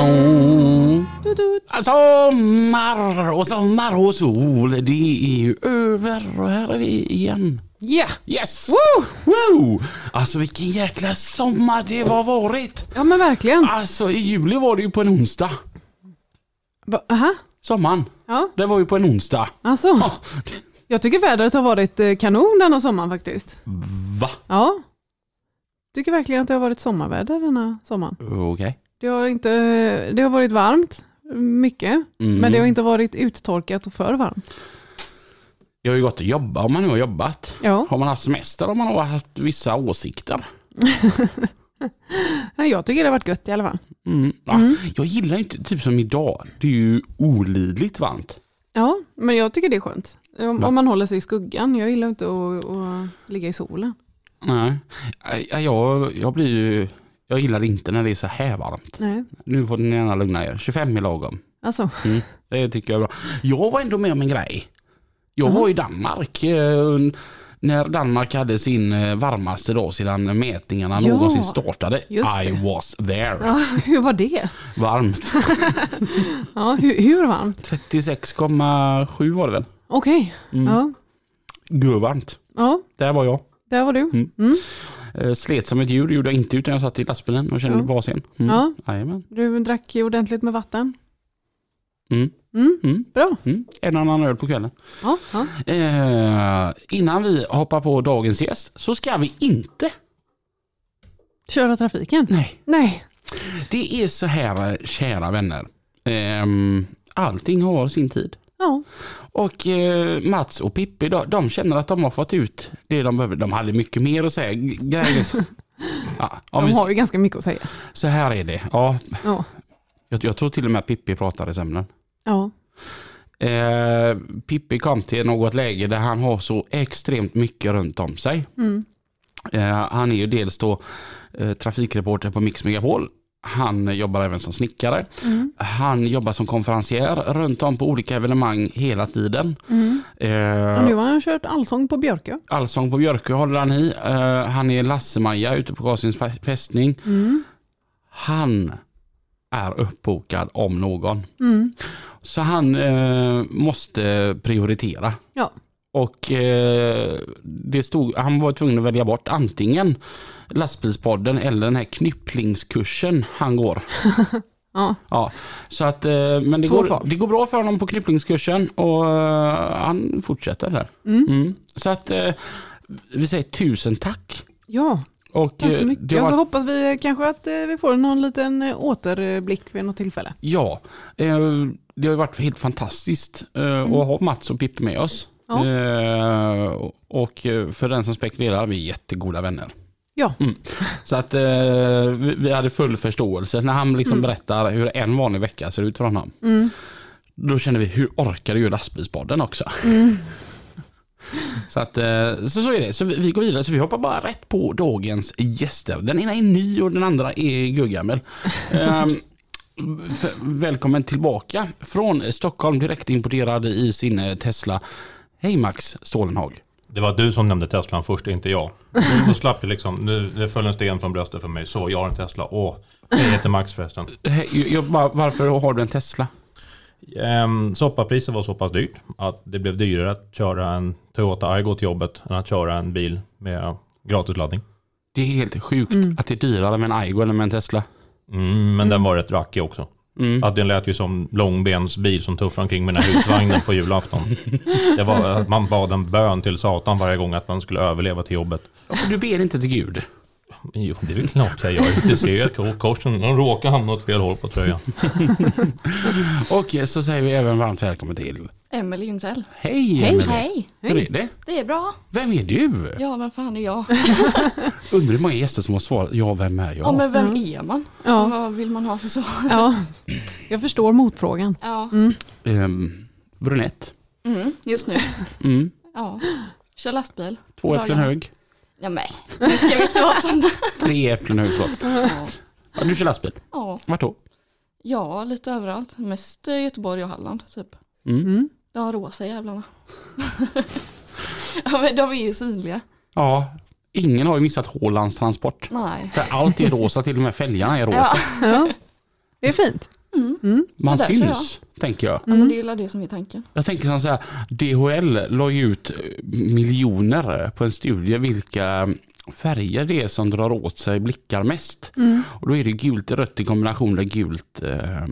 Du, du. Alltså, Sommar och sommar och sol, det är ju över och här är vi igen. Yeah! Yes! Woo! Woo! Alltså vilken jäkla sommar det har varit. Ja men verkligen. Alltså i juli var det ju på en onsdag. Va- Aha. Sommaren, Ja, det var ju på en onsdag. alltså. Ah, Jag tycker vädret har varit eh, kanon denna sommaren faktiskt. Va? Ja. Tycker verkligen att det har varit sommarväder denna sommaren. Okej. Det har, inte, eh, det har varit varmt, mycket, Mm. men det har inte varit uttorkat och för varmt. Jag har ju gått och jobbat om man nu har jobbat. Ja. Har man haft semester om man har haft vissa åsikter. Nej, Jag tycker det har varit gött i alla fall. Mm. Ah, Jag gillar ju inte, typ som idag, det är ju olidligt varmt. Ja, men jag tycker det är skönt. Om, om man håller sig i skuggan. Jag gillar inte att, att ligga i solen. Nej, jag, jag, jag blir ju, jag gillar inte när det är så här varmt. Nej, Nu får ni gärna lugna er, 25 är lagom. alltså. Mm. Det tycker jag är bra. Jag var ändå med om en grej. Jag var i Danmark eh, när Danmark hade sin eh, varmaste dag sedan mätningarna Ja, någonsin startade. just det. I was there. Ja, hur var det? Varmt. Ja, hur, hur varmt? 36,7 var det väl? Mm. Okej, ja. Görvarmt. ja, Där var jag. där var Mm. du. Eh, Slet som ett djur, det gjorde jag inte utan jag satt i lastbilen och kände Ja. basen. Mm. Ja, Jajamän. du drack ju ordentligt med vatten. Mm. Mm, Mm. bra. Mm. En annan öl på kvällen. Ja, ja. Eh, innan vi hoppar på dagens gäst så ska vi inte. Köra trafiken? Nej. Nej. Det är så här eh, kära vänner. Ehm, allting har sin tid. Ja, Och eh, Mats och Pippi, de, de känner att de har fått ut det de behöver. De hade mycket mer att säga. G- Grejer. ja, om de vi, har ju ganska mycket att säga. så här är det. Ja, Ja, jag, jag tror till och med att Pippi pratade i sömnen. ja. Eh, Pippi kom till något läge där han har så extremt mycket runt om sig. Mm. Eh, han är ju dels då eh, trafikreporter på Mix Megapol. Han jobbar även som snickare. Mm. Han jobbar som konferencier runt om på olika evenemang hela tiden. Mm. Och Eh, nu har han kört allsång på Björkö. Allsång på Björkö håller han i. Eh, han är Lasse-Maja ute på Karlsins fä- fästning. Mm. Han är uppbokad om någon. Mm. Så han eh, måste prioritera. Ja. Och eh, det stod, han var tvungen att välja bort antingen lastbilspodden eller den här knypplingskursen han går. Ja. Ja, så att, eh, men det Två går, kvar. det går bra för honom på knypplingskursen och eh, han fortsätter där. Mm. Mm. Så att eh, vi säger tusen tack. ja, Och, tack så eh, mycket. Alltså- det Jag var- så hoppas vi kanske att eh, vi får någon liten eh, återblick vid något tillfälle. Ja, eh, det har ju varit helt fantastiskt eh, att ha Mats och Pippi med oss. Mm. Ja. Eh, och eh, för den som spekulerar, vi är jättegoda vänner. Ja. Mm. Så att eh, vi, vi hade full förståelse när han liksom berättar hur en vanlig vecka ser ut för honom. Mm. Då kände vi, hur orkar du göra lastbilspodden också? Så, att, eh, så så är det. Så vi, vi går vidare. Så vi hoppar bara rätt på dagens gäster. Den ena är ny och den andra är guggammel. Ehm, f- välkommen tillbaka från Stockholm, direktimporterad i sin eh, Tesla. Hej Max Stålenhag. Det var du som nämnde Teslan först, inte jag. Då slapp jag liksom, nu det föll en sten från bröstet för mig. Så, jag har en Tesla. Åh, jag heter Max förresten. Hej, jag- jag, bara, varför har du en Tesla? Ehm, soppapriset var så pass dyrt att det blev dyrare att köra en Toyota Aygo till jobbet än att köra en bil med gratisladdning. Det är helt sjukt Mm. att det är dyrare med en Aigo än med en Tesla. Mm, men den var rätt rackig också. Mm. Att den lät ju som långbensbil som tuffar omkring med den här husvagnen på julafton. Det var, man bad en bön till Satan varje gång att man skulle överleva till jobbet. Du ber inte till Gud. Jo, det är väl klart jag gör. Det ser ju att korsen de råkar hamna åt fel håll på tröjan. Och så säger vi även varmt välkommen till Emelie Ljungsell. Hej Hej! Emelie. Hej! Hur är det? Det är bra. Vem är du? Ja, vem fan är jag? Undrar hur många gäster som har svarat ja, vem är jag? Ja, men vem är man? Ja. Alltså, vad vill man ha för svar? Ja, jag förstår motfrågan. Mm, Ja, Ehm, brunett. mm, just nu. Mm. Ja. Kör lastbil. Två äpplen Lagar. hög. Ja, nej, nu ska vi inte vara sådana. Tre äpplen hög, förlåt. Ja. Ja, du kör lastbil. Ja. Vart då? ja, lite överallt. Mest eh, Göteborg och Halland typ. Mm. Mm. De rosa jävlarna. ja, men de är ju synliga. Ja, ingen har ju missat Hålands transport. Nej. För allt är rosa, till och med fälgarna är rosa. Ja. Ja. Det är fint. Mm. Man så där tror syns, tänker jag. Ja, men det är ju det som är tanken. Jag tänker som så här, DHL la ju ut eh, miljoner på en studie vilka färger det är som drar åt sig blickar mest. Mm. Och då är det gult och rött i kombination där gult eh,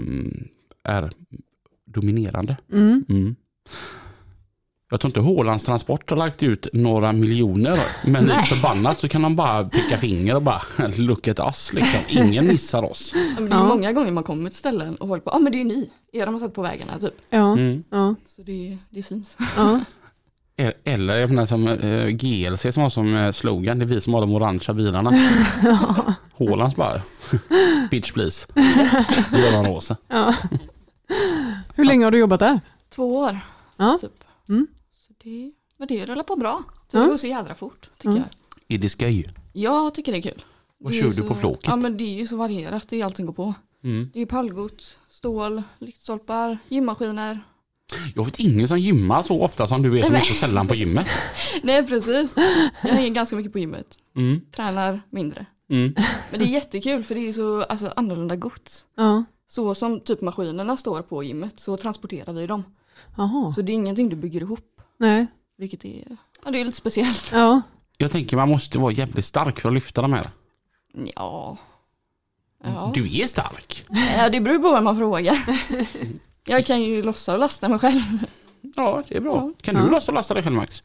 är dominerande. Mm. Mm. Jag tror inte Hålands Transport har lagt ut några miljoner men Nej. förbannat så kan de bara peka finger och bara look at us liksom. Ingen missar oss. Ja, men det är Ja. många gånger man kommer till ställen och folk bara, ja ah, men det är ju ni. Era har satt på vägarna typ. Ja, Mm. ja, Så det, det syns. ja. E- Eller jag menar, som eh, GLC som har som eh, slogan, det är vi som har de orangea bilarna. Hålands bara, bitch please. Vi har de rosa. Hur länge har du jobbat där? Två år. Ja. Typ. Mm. Så det, men det rullar på bra. Det Ja. går så jädra fort tycker Ja. jag. Är det skoj? Jag tycker det är kul. Vad Det är kör ju du så- på flåket? Ja men det är ju så varierat, det är ju allting går på. Mm. Det är pallgods, stål, lyktstolpar, gymmaskiner. Jag vet ingen som gymmar så ofta som du är som är så sällan på gymmet. Nej precis, jag hänger ganska mycket på gymmet. Mm. Tränar mindre. Mm. Men det är jättekul för det är ju så alltså, annorlunda gods. Ja, Så som typ maskinerna står på gymmet så transporterar vi dem. jaha. Så det är ingenting du bygger ihop. Nej. Vilket är, ja, det är lite speciellt. Ja, Jag tänker man måste vara jävligt stark för att lyfta de här. Ja. Ja. Du är stark. ja, Eh, det beror på vem man frågar. Jag kan ju lossa och lasta mig själv. Ja, det är bra. Kan Ja. du lossa och lasta dig själv Max?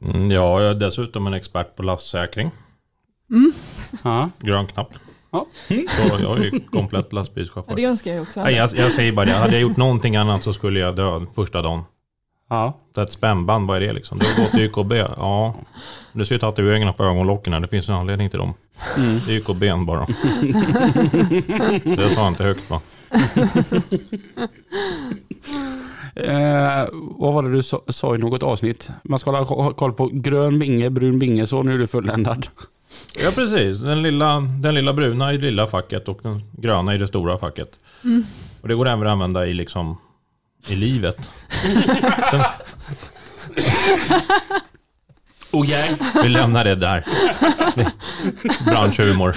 Mm, ja, jag är dessutom en expert på lastsäkring. Ja. Grön knapp. Ja. Så jag är ju komplett lastbilschaufför. Ja, det önskar jag också. Nej, jag, jag säger bara det, hade jag gjort någonting annat så skulle jag dö första dagen. ja. Det är ett spännband, vad är det liksom? Du har gått till YKB, ja. Du ser ju tatueringarna på ögonlocken här, det finns en anledning till dem. Mm. Det är YKB bara. Det sa jag inte högt va? Eh, vad var det du sa, sa i något avsnitt? Man ska ha ko- koll på grön binge, brun binge, så nu är du fulländad. Ja precis, den lilla, den lilla bruna i det lilla facket och den gröna i det stora facket. Och det går även att använda i liksom i livet. Okej. Vi lämnar det där. Branschhumor.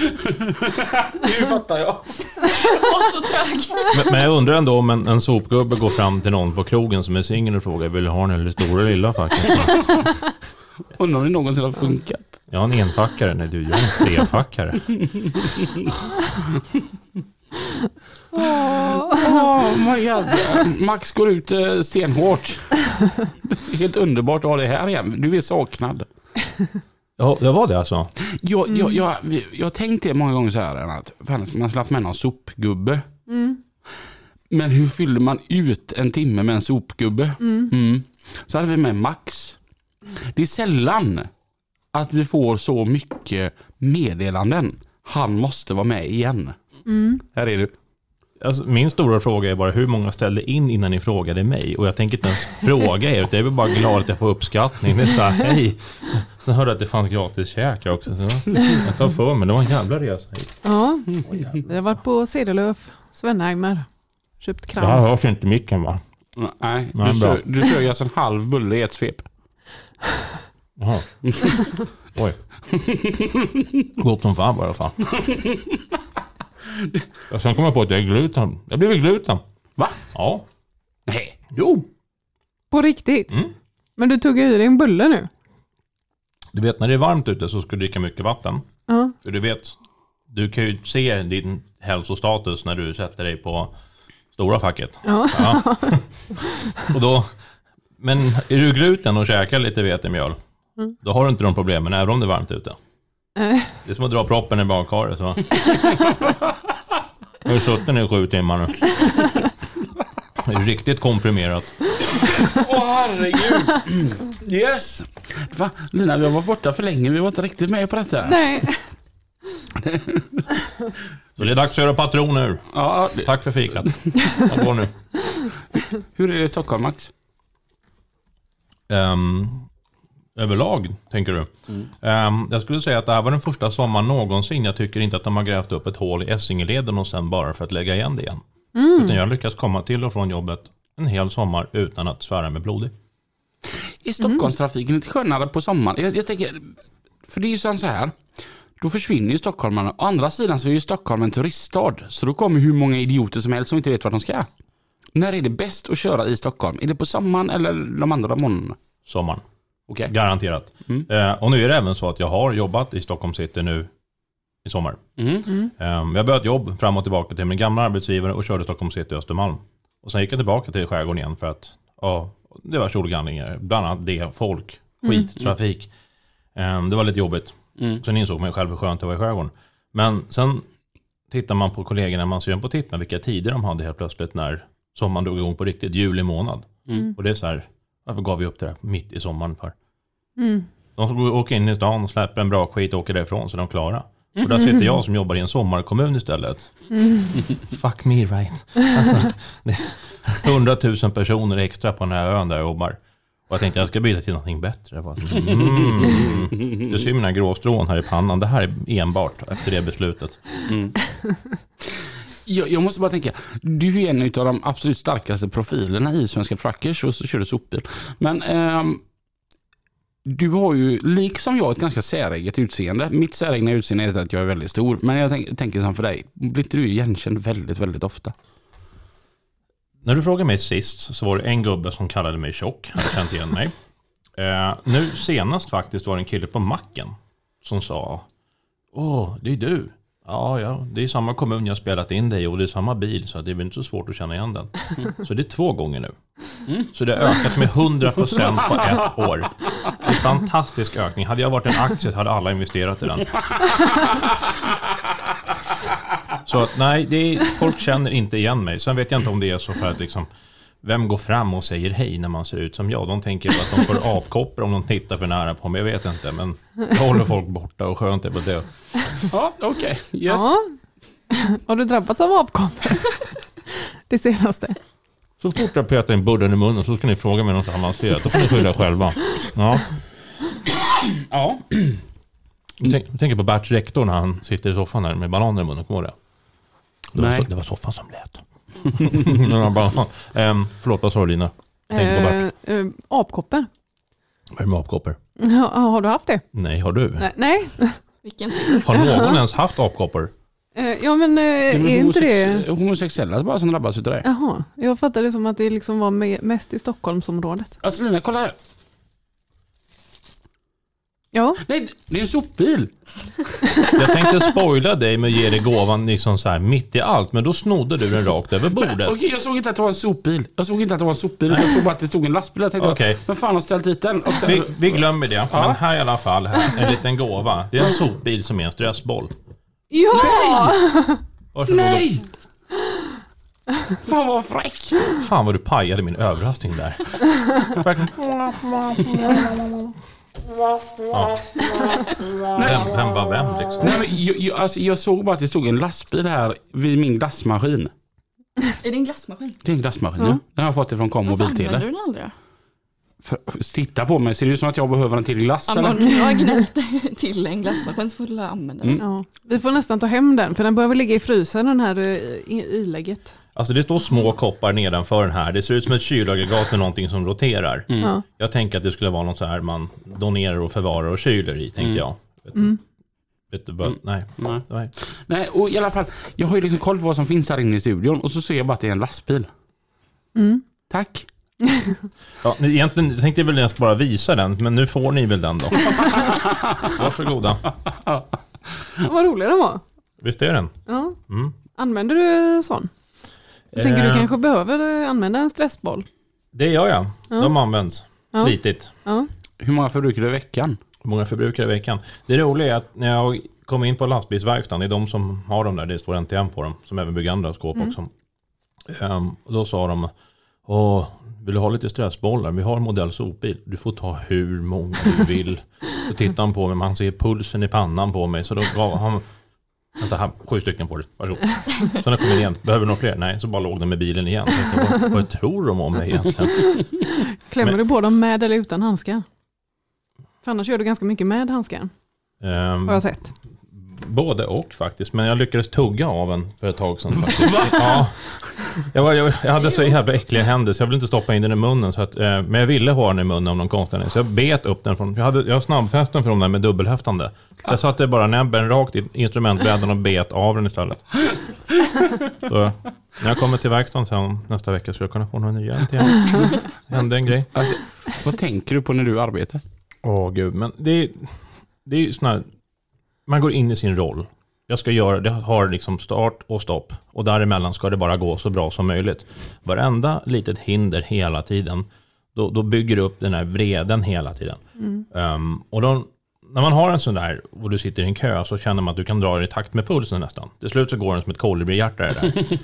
Nu fattar jag. så trög. Men, men jag undrar ändå om en, en sopgubbe går fram till någon på krogen som är singel och frågar vill du ha den eller stora eller lilla facket? Undrar om det någonsin har funkat. Jag har en enfackare. Nej du, jag är en trefackare. Oh my god. Max går ut eh, stenhårt. Det är Helt underbart att ha dig här igen. Du är saknad. Ja, jag var det alltså. Jag, jag, jag, vi- jag har tänkt det många gånger så här, att fan, man slapp med någon sopgubbe. Men hur fyller man ut en timme med en sopgubbe? Mm. Så hade vi med Max. Det är sällan att vi får så mycket meddelanden. Han måste vara med igen. Mm. Här är du. alltså. Min stora fråga är bara hur många ställde in innan ni frågade mig? Och jag tänker inte ens fråga er, utan jag är väl bara glad att jag får uppskattning. Det är så här, hej. Sen hörde jag att det fanns gratis käk också. Så jag tar för mig, det var en jävla resa hit. ja. vi har varit på Cederlöf, Svenheimer, köpt Det här krans. hörs inte i micken va? Nej, Nej, du, bra. sö- du sög alltså en halv bulle i ett svep. Jaha. Oj. Gott som fan i alla fall. Och sen kom jag på att jag är gluten. Jag blev gluten. Va? Ja. Nej. Jo. På riktigt? Mm. Men du tog ju dig en bulle nu? Du vet när det är varmt ute så ska du dricka mycket vatten. Ja. För du vet, du kan ju se din hälsostatus när du sätter dig på stora facket. Ja. Ja. och då, men är du gluten och käkar lite vetemjöl, då har du inte de problemen även om det är varmt ute. Eh, Det är som att dra proppen i badkaret. Så. Jag har ju suttit ner i sju timmar nu. Det är Riktigt komprimerat. Åh herregud! Mm. Yes! Va? Lina, vi har varit borta för länge. Vi var inte riktigt med på detta. Nej. Så det är dags att göra patroner. Ja, det- Tack för fikat. Jag går nu. hur är det i Stockholm Max? Ehm, överlag, tänker du? Ehm, jag skulle säga att det här var den första sommaren någonsin. Jag tycker inte att de har grävt upp ett hål i Essingeleden och sen bara för att lägga igen det igen. Utan jag har lyckats komma till och från jobbet en hel sommar utan att svära mig blodig. Är Stockholmstrafiken inte skönare på sommaren? Jag, jag tänker, för det är ju sen så här. Då försvinner ju stockholmarna. Å andra sidan så är ju Stockholm en turiststad. Så då kommer hur många idioter som helst som inte vet vart de ska. När är det bäst att köra i Stockholm? Är det på sommaren eller de andra månaderna? Sommaren. Okej. Garanterat. Mm. Eh, och nu är det även så att jag har jobbat i Stockholm city nu i sommar. Mm. Ehm, jag började jobb fram och tillbaka till min gamla arbetsgivare och körde Stockholm city och Östermalm. Och sen gick jag tillbaka till skärgården igen för att ja, det var solgalningar. Bland annat det, folk, skit, trafik. Ehm, det var lite jobbigt. Mm. Sen insåg man ju själv hur skönt det var i skärgården. Men sen tittar man på kollegorna man ser på tippen vilka tider de hade helt plötsligt när sommaren drog igång på riktigt, juli månad. Mm. Och det är så här, varför gav vi upp det här mitt i sommaren för? Mm. De ska gå- åka in i stan och släpper en bra skit och åker därifrån så är de klara. Och där sitter jag som jobbar i en sommarkommun istället. Fuck me right. Alltså, det är 100 000 personer extra på den här ön där jag jobbar. Och jag tänkte jag ska byta till någonting bättre. Jag bara, mm. Du ser ju mina gråstrån här i pannan. Det här är enbart efter det beslutet. Jag, jag måste bara tänka, du är en av de absolut starkaste profilerna i Svenska Truckers och så kör du sopbil. Men ehm, du har ju, liksom jag, ett ganska säreget utseende. Mitt säregna utseende är att jag är väldigt stor, men jag tänk, tänker som för dig. Blir inte du igenkänd väldigt, väldigt ofta? När du frågade mig sist så var det en gubbe som kallade mig tjock. Han kände inte igen mig. Eh, nu senast faktiskt var det en kille på macken som sa Åh, det är du. Ja, ja, det är samma kommun jag spelat in dig i och det är samma bil så det är väl inte så svårt att känna igen den. Så det är två gånger nu. Så det har ökat med 100% på ett år. En fantastisk ökning. Hade jag varit en aktie så hade alla investerat i den. Så att, nej, det är, folk känner inte igen mig. Sen vet jag inte om det är så för att liksom, vem går fram och säger hej när man ser ut som jag? De tänker att de får apkoppor om de tittar för nära på mig. Jag vet inte, men jag håller folk borta och skönt är på det. Ja, okej. Yes. Ja. Har du drabbats av apkoppor? Det senaste. Så fort jag petar in budden i munnen så ska ni fråga mig något avancerat. Då får ni skylla er själva. Ja. Ja. Jag tänk- jag tänker på Berts rektor när han sitter i soffan här med bananer i munnen. Kommer du ihåg det? Det var, Nej. so- det var soffan som lät. När han bara, ehm, förlåt, vad sa du Lina? Tänk på Bert. Eh, eh, apkoppor. Vad är det med apkoppor? Ja, har du haft det? Nej, har du? Nej. Nej. Vilken Har någon ens haft apkoppor? Eh, Ja men eh, Det är är väl inte homosex- det... homosexuella bara som drabbas utav det. Jaha, jag fattade det som att det liksom var me- mest i Stockholmsområdet. Alltså Lina, kolla här. Ja, Nej, det är en sopbil. Jag tänkte spoila dig med att ge dig gåvan liksom så här mitt i allt, men då snodde du den rakt över bordet. Okej, jag såg inte att det var en sopbil. Jag såg inte att det var en sopbil. Jag såg bara att det stod en lastbil. Jag tänkte, Okej. vem fan har ställt dit den? Och sen- Vi, vi glömmer det, men här i alla fall, här, en liten gåva. Det är en sopbil som är en stressboll. ja! Varsågod. Nej! Fan vad fräck! Fan vad du pajade min överraskning där. Verkligen. Ja. Vem, vem var vem liksom? Nej, men jag, jag, alltså, jag såg bara att det stod en lastbil här vid min glassmaskin. Är det en glassmaskin? Det är en glassmaskin Ja. ja. Den har jag fått ifrån Commo Varför använder Biltele. du den aldrig då? För- Titta på mig, ser det ut som att jag behöver en till glass Ja, men eller? om du har gnällt till en glassmaskin så får du använda den. ja. Vi får nästan ta hem den, för den behöver ligga i frysen den här eh, i- ilägget. Alltså det står små koppar nedanför den här. Det ser ut som ett kylaggregat med någonting som roterar. Mm. Ja. Jag tänker att det skulle vara något så här man donerar och förvarar och kyler i, Mm. tänkte jag. Vet du, vet du vad? Nej. Nej. Nej. Nej, och i alla fall, jag har ju liksom koll på vad som finns här inne i studion och så ser jag bara att det är en lastbil. mm. Tack. Ja, men egentligen jag tänkte jag väl nästan bara visa den, men nu får ni väl den då. Varsågoda. Vad rolig den var. Visst är den? Ja. Mm. Använder du sån? Jag tänker du Eh, kanske behöver eh, använda en stressboll. Det gör jag. De används Ja. flitigt. Ja. Hur många förbrukar du i veckan? Hur många förbrukare i veckan? Det roliga är att när jag kom in på lastbilsverkstaden, det är de som har dem där, det står NTM på dem, som även bygger andra skåp också. Ehm, och då sa de, Åh, vill du ha lite stressbollar? Vi har en modell sopbil. Du får ta hur många du vill. Då tittar han på mig, men han ser pulsen i pannan på mig. Så då gav han, vänta här, sju stycken på dig. Varsågod. Så när jag kom in igen, behöver du några fler? Nej, så bara låg de med bilen igen. Så jag tänkte, vad, vad tror de om mig egentligen? Klämmer Men- du på dem med eller utan handskar? För annars gör du ganska mycket med handskar, Ehm, har jag sett. Både och faktiskt, men jag lyckades tugga av en för ett tag sedan. Faktiskt. ja. jag, var, jag, jag hade så jävla äckliga händer så jag ville inte stoppa in den i munnen. Så att, eh, men jag ville ha den i munnen av någon konstig anledning, Så jag bet upp den. Från, jag, hade, jag snabbfäste den för de där med dubbelhäftande. Så jag satte bara näbben rakt i instrumentbrädan och bet av den istället. Så, när jag kommer till verkstaden sen nästa vecka så jag kunna få några nya till henne. Det hände en grej. Alltså, vad tänker du på när du arbetar? Åh gud, men det är, det är ju sån här, man går in i sin roll. Jag ska göra, det har liksom start och stopp och däremellan ska det bara gå så bra som möjligt. Varenda litet hinder hela tiden, då, då bygger du upp den här vreden hela tiden. Ehm, och då, när man har en sån där och du sitter i en kö så känner man att du kan dra dig i takt med pulsen nästan. Till slut så går den som ett kolibrihjärta det där.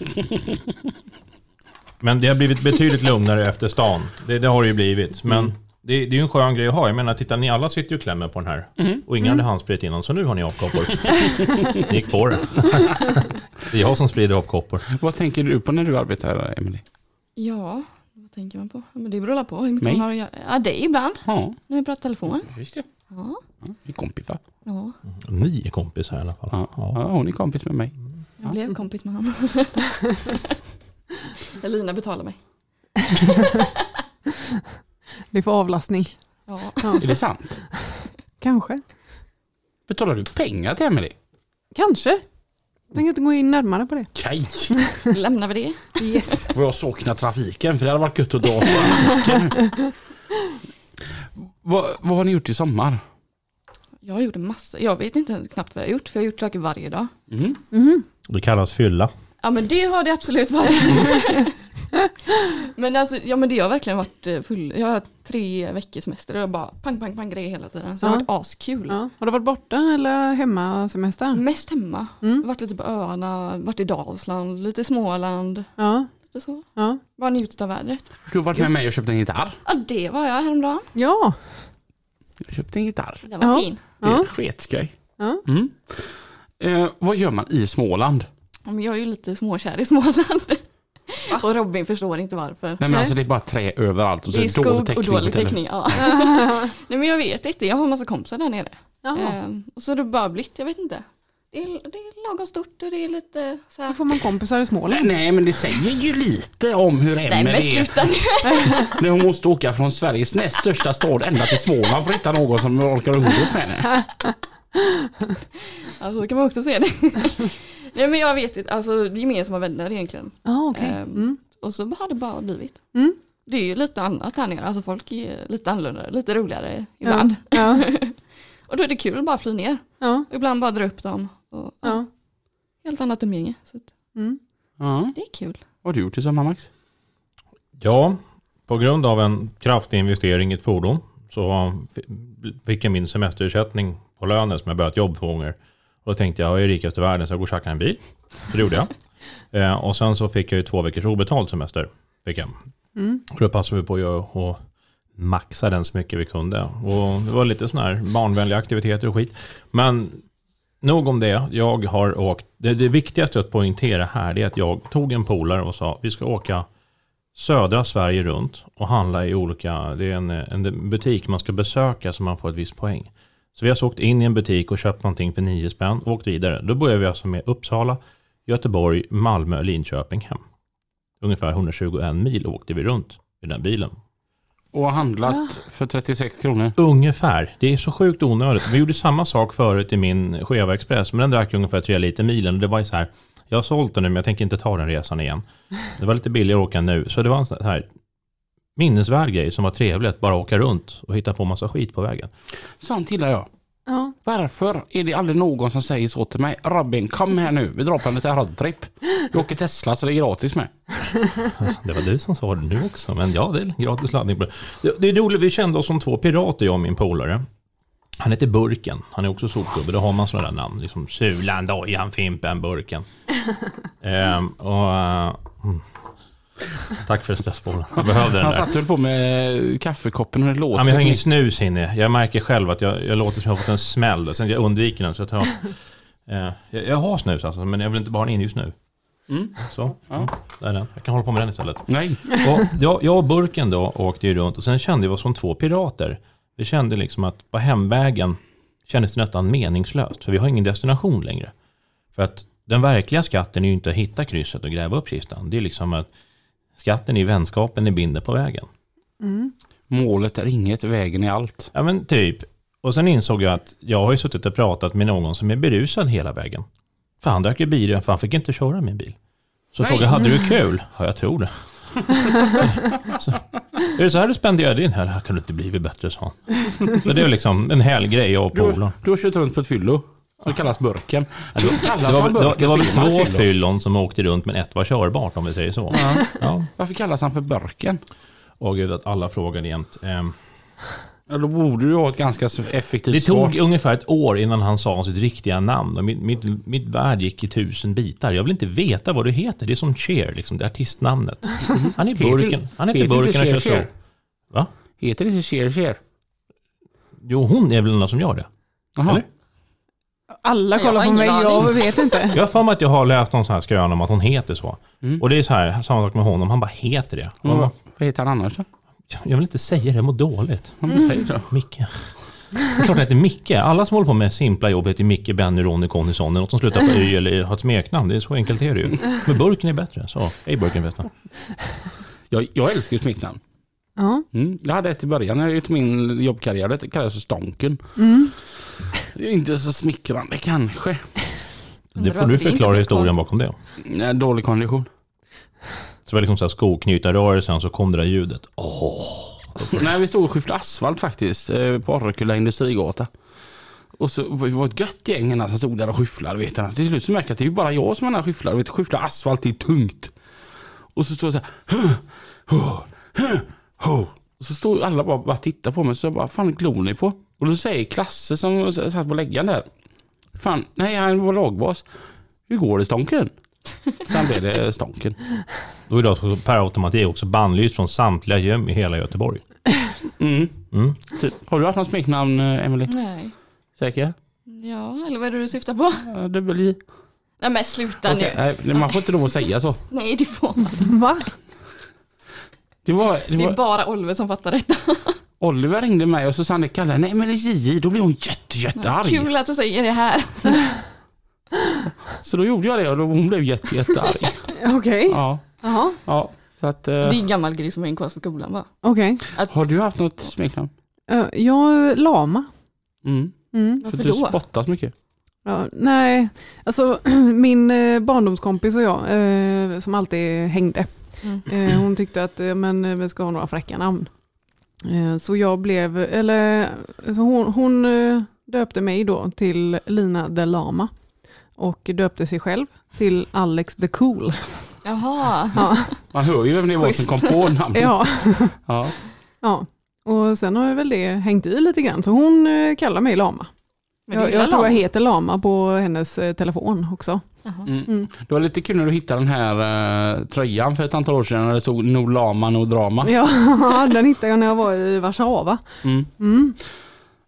Men det har blivit betydligt lugnare efter stan. Det, det har det ju blivit. Men det, det är ju en skön grej att ha. Jag menar, titta ni alla sitter ju och klämmer på den här. Och ingen hade handsprit innan, så nu har ni avkoppor. ni gick på det. det är jag som sprider avkoppor. Vad tänker du på när du arbetar, Emily? Ja, vad tänker man på? Men det beror alla på hur mycket Mig? man har att göra. Ja, det är ibland Ja, när vi pratar telefon. just det. Ja, Vi är kompisar. ja. Ni är kompisar i alla fall. Ja. Ja. Ja, hon är kompis med mig. jag blev kompis med honom. Elina betalar mig. Det är för avlastning. Ja, Är det sant? Kanske. Betalar du pengar till Emily? Kanske. Jag tänker inte gå in närmare på det. Kaj! lämnar vi det. Yes. Får jag sakna trafiken för det hade varit gött att dra. vad, vad har ni gjort i sommar? Jag gjorde massor. Jag vet inte knappt vad jag har gjort, för jag har gjort saker varje dag. Mm. Det kallas fylla. Ja men det har det absolut varit. men alltså, ja men det har verkligen varit eh, full. Jag har tre veckors semester och jag bara pang pang pang grejer hela tiden. Så det har Ja. varit askul. Ja. Har du varit borta eller hemma semestern? Mest hemma. Mm. Varit lite på öarna, varit i Dalsland, lite i Småland. Ja. Lite så. Ja. Bara njutit av vädret. Du har varit med mig och köpt en gitarr. Ja det var jag häromdagen. Ja. Jag köpte en gitarr. Den var Ja. fin. Det är Ja. sketskoj. Ja. Mm. Eh, vad gör man i Småland? Ja, men jag är ju lite småkär i Småland. och Robin förstår inte varför. Nej, men Nej. Alltså, det är bara trä överallt och så Det är är dålig skog och täckning. dålig på telefonen. täckning. Ja. Nej men jag vet inte, jag har en massa kompisar där nere. Jaha. Ehm, och så har det bara blivit, jag vet inte. Det är, det är lagom stort och det är lite så Då här. får man kompisar i Småland. Nej, Nej men det säger ju lite om hur Nej Emelie men är. sluta nu. När hon måste åka från Sveriges näst största stad ända till Småland för att hitta någon som orkar umgås med henne. Ja, Alltså, så kan man också se det. Nej men jag vet inte, alltså gemensamma vänner egentligen. Ja, okej. Ehm, Mm. Och så har det bara blivit. Mm. Det är ju lite annat här nere, alltså folk är lite annorlunda, lite roligare ibland. Ja. Och då är det kul att bara fly ner. Ja. Och ibland bara dra upp dem. Och, ja. Ja. Helt annat umgänge. Så att Mm. Ja. det är kul. Vad har du gjort i sommar Max? Ja, på grund av en kraftig investering i ett fordon så f- fick jag min semesterersättning på lönen som jag börjat jobb två gånger. Och då tänkte jag, jag är rikast i världen så jag går och tjackar en bil. Så Det gjorde jag. Eh, och sen så fick jag ju två veckors obetald semester. Fick jag. Mm. Och då passade vi på att göra- och maxa den så mycket vi kunde. Och det var lite sådana här barnvänliga aktiviteter och skit. Men nog om det. Jag har åkt. Det, det viktigaste att poängtera här är att jag tog en polare och sa vi ska åka södra Sverige runt och handla i olika, det är en, en butik man ska besöka så man får ett visst poäng. Så vi har så åkt in i en butik och köpt någonting för 9 spänn och åkt vidare. Då börjar vi alltså med Uppsala, Göteborg, Malmö, Linköping hem. Ungefär 121 mil åkte vi runt i den bilen. Och har handlat för 36 kronor. Ungefär. Det är så sjukt onödigt. Vi gjorde samma sak förut i min Cheva Express, men den drack ungefär tre liter milen. Och det var ju så här, jag har sålt den nu, men jag tänker inte ta den resan igen. Det var lite billigare att åka nu. Så det var en sån här minnesvärd grej som var trevlig att bara åka runt och hitta på massa skit på vägen. Sånt gillar jag. Ja. Varför är det aldrig någon som säger så till mig? Robin kom här nu, vi drar på en liten roadtrip. Vi åker Tesla så det är gratis med. Det var du som sa det nu också, men ja, det är gratis laddning. på det. Det, det är roligt, vi kände oss som två pirater, jag och min polare. Han heter Burken, han är också sopgubbe, då har man sådana där namn. Liksom Sulan, Dojan, Fimpen, Burken. Ehm, och, eh, mm. Tack för stressbollen. Jag behövde den Han där. satt väl på med kaffekoppen och det Ja, låter. men jag har ingen snus inne. Jag märker själv att jag, jag låter som jag har fått en smäll. där. Sen jag undviker den. Så jag, tar, eh, jag, jag har snus alltså, men jag vill inte bara ha den in just nu. Mm. Så, Ja. ja. där är den. Jag kan hålla på med den istället. Nej. Och jag, jag och burken då åkte ju runt och sen kände vi oss som två pirater. Vi kände liksom att på hemvägen kändes det nästan meningslöst, för vi har ingen destination längre. För att den verkliga skatten är ju inte att hitta krysset och gräva upp kistan. Det är liksom att skatten är vänskapen ni binder på vägen. Mm. Målet är inget, vägen är allt. Ja men typ. Och sen insåg jag att jag har ju suttit och pratat med någon som är berusad hela vägen. För han drack ju bil, för han fick inte köra min bil. Så Nej. frågade jag, hade du kul? Ja, jag tror det. så, är det så här du spenderade din helg? Det här kunde inte blivit bättre, sa han. Så det är liksom en helgrej, jag och Du, polaren. har- du har kört runt på ett fyllo. Det kallas burken. Ja, då kallas Det var, han väl- det var, det var väl burken, så är två man fyllo. fyllon som åkte runt, men ett var körbart om vi säger så. Ja. Ja. Varför kallas han för burken? Och gud, att alla frågade jämt. ehm, Ja, då borde du ha ett ganska effektivt Det svar. tog ungefär ett år innan han sa sitt riktiga namn och mitt, mitt, mitt värld gick i tusen bitar. Jag vill inte veta vad du heter, det är som Cher, liksom, det är artistnamnet. Han är Heter- Burken, han heter heter Burken och inte kör Cher så. Cher? Va? Heter det inte Cher Cher? Jo, hon är väl den enda som gör det. Jaha. Eller? Alla Jag har kollar på ingen mig, jag aning. vet inte. Jag har för mig att jag har läst någon sån här skrön om att hon heter så. Mm. Och det är så här, samma sak med honom, han bara heter det. Och Vad, man vad bara, heter han annars då? jag vill inte säga det, jag mår dåligt. Vad säger du? Micke. Det är klart han heter Micke. Alla som håller på med simpla jobb heter Micke, Benny, Ronny, Conny, Sonny. Något som slutar på Y eller har ett smeknamn. Det är så enkelt är det ju. Men burken är bättre. Så, hej burken vet man. Jag, jag älskar ju smeknamn. Ja. Mm. Jag hade ett i början när jag ut min jobbkarriär. Det kallades för Stonken. Mm. Det är inte så smickrande kanske. Det får du förklara historien bakom det. Nej, Eh, Dålig kondition. Så det var liksom så här skoknytarrörelsen, så kom det där ljudet. Åh! Nej, vi stod och skiftade asfalt faktiskt eh, på Orrekulla industrigata. Och så var det var ett gött gäng här som stod där och skyfflade. Vet du. Till slut så märker jag att det är ju bara jag som är den här skyfflaren. Vet du, Skyffla asfalt, det är tungt. Och så står jag så här. "Huh, huh, huh, huh." Och så står alla bara bara tittar på mig. Så jag bara, fan glor ni på? Och då säger Klasse som satt på läggaren där. Fan, nej han var lagbas. Hur går det Stonken? Sen blev det Stonken. Då är det alltså per automatik också bannlyst från samtliga gym i hela Göteborg. Mm. Mm. Typ. Har du haft något smeknamn eh, Emily? Nej. Säker? Ja, eller vad är det du syftar på? Ja, Dubbel J? Nej men sluta Okej, äh. nu. nej, nej, man får inte lov att säga så. Nej det får man. Va? Det var, det Det är var, bara Oliver som fattar detta. Oliver ringde mig och så sa han det kallar nej men det är JJ, då blev hon jätte, jättearg. Kul att du säger det här. Så då gjorde jag det och då, hon blev jätte, jättearg. Okej. Ja, Jaha, ja. Så att, eh, Det är en gammal grej som är en kvar i skolan va? okej. Att, har du haft något smeknamn? Eh, Jag lama. Mm. Mm. För varför att du då? spottar så mycket. Ja, nej, alltså min eh, barndomskompis och jag eh, som alltid hängde, Mm. eh, hon tyckte att eh, men, eh, vi ska ha några fräcka namn. Eh, så jag blev, eller så hon, hon eh, döpte mig då till Lina the Lama och döpte sig själv till Alex the Cool. Jaha. Ja, Man hör ju vem det var som kom Schysst. på namnet. ja, Ja. ja. Och sen har väl det hängt i lite grann, så hon eh, kallar mig Lama. Men du Jag, gillar jag tror jag lam. heter Lama på hennes eh, telefon också. Jaha. Mm. Mm. Det var lite kul när du hittade den här eh, tröjan för ett antal år sedan när det stod No Lama No Drama. Ja, den hittade jag när jag var i Warszawa. Mm. Mm.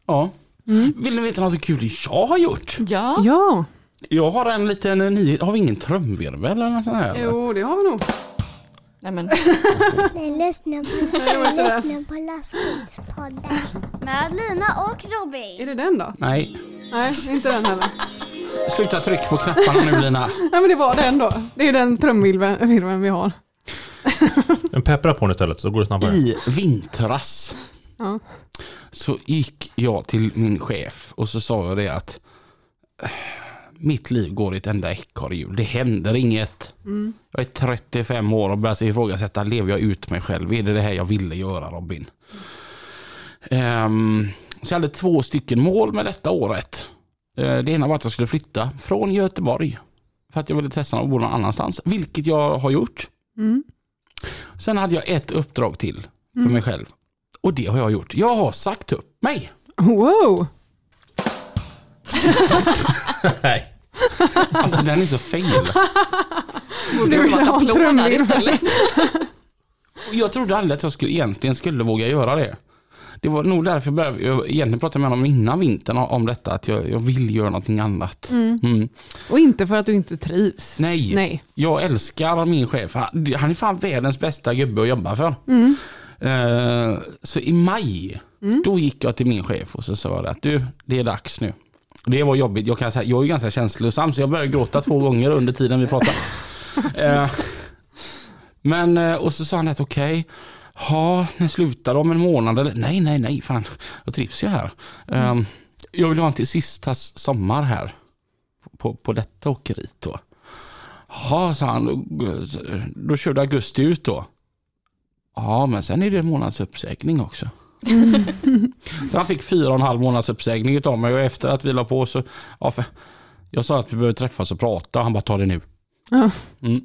Ja. Mm. Vill ni veta något så kul jag har gjort? Ja. Ja, Jag har en liten eh, nyhet. Har vi ingen trumvirvel eller något sånt här? jo det har vi nog. Nej men Jag lyssnar på, jag lyssnar på lastbilspodden. Med Lina och Är Robin. det den då? Nej. Nej, inte den heller. Sluta tryck på knapparna nu Lina. Nej men det var den då. Det är den trumvirveln virveln vi har. Men peppra på den istället, så går det snabbare. I vintras Ja. så gick jag till min chef och så sa jag det att "Eh, mitt liv går i ett enda ekorrhjul. Det händer inget. Mm. Jag är 35 år och börjar så ifrågasätta, lever jag ut mig själv? Är det det här jag ville göra Robin? Ehm, så jag hade två stycken mål med detta året. Eh, det ena var att jag skulle flytta från Göteborg. För att jag ville testa att bo någon annanstans. Vilket jag har gjort. Mm. Sen hade jag ett uppdrag till för Mm. mig själv. Och det har jag gjort. Jag har sagt upp mig. Wow! Nej. Alltså den är så fel. Borde Du vill varit ha applåd trummor. där istället. Och Jag trodde aldrig att jag skulle, egentligen skulle våga göra det. Det var nog därför jag, började, jag egentligen pratade med honom innan vintern om detta, att jag, jag vill göra någonting annat. Mm. Mm. Och inte för att du inte trivs. Nej, Nej. jag älskar min chef. Han han är fan världens bästa gubbe att jobba för. Mm. Eh, så i maj, Mm. då gick jag till min chef och så sa jag att du, det är dags nu. Det var jobbigt. Jag, kan säga, jag är ju ganska känslosam så jag började gråta två gånger under tiden vi pratade. Eh, men, eh, och så sa han att okej, ha, när slutar de? om en månad eller? Nej, nej, nej, fan, jag trivs ju här. Mm. Eh, jag vill ha en till sista sommar här på, på detta åkeriet då. Ja, sa han, då, då körde augusti ut då. Ja, men sen är det en månads uppsägning också. Mm. så han fick fyra och en halv månads uppsägning utav mig och efter att vi la på så, ja, för, jag sa att vi behöver träffas och prata han bara ta det nu. Ja. Mm.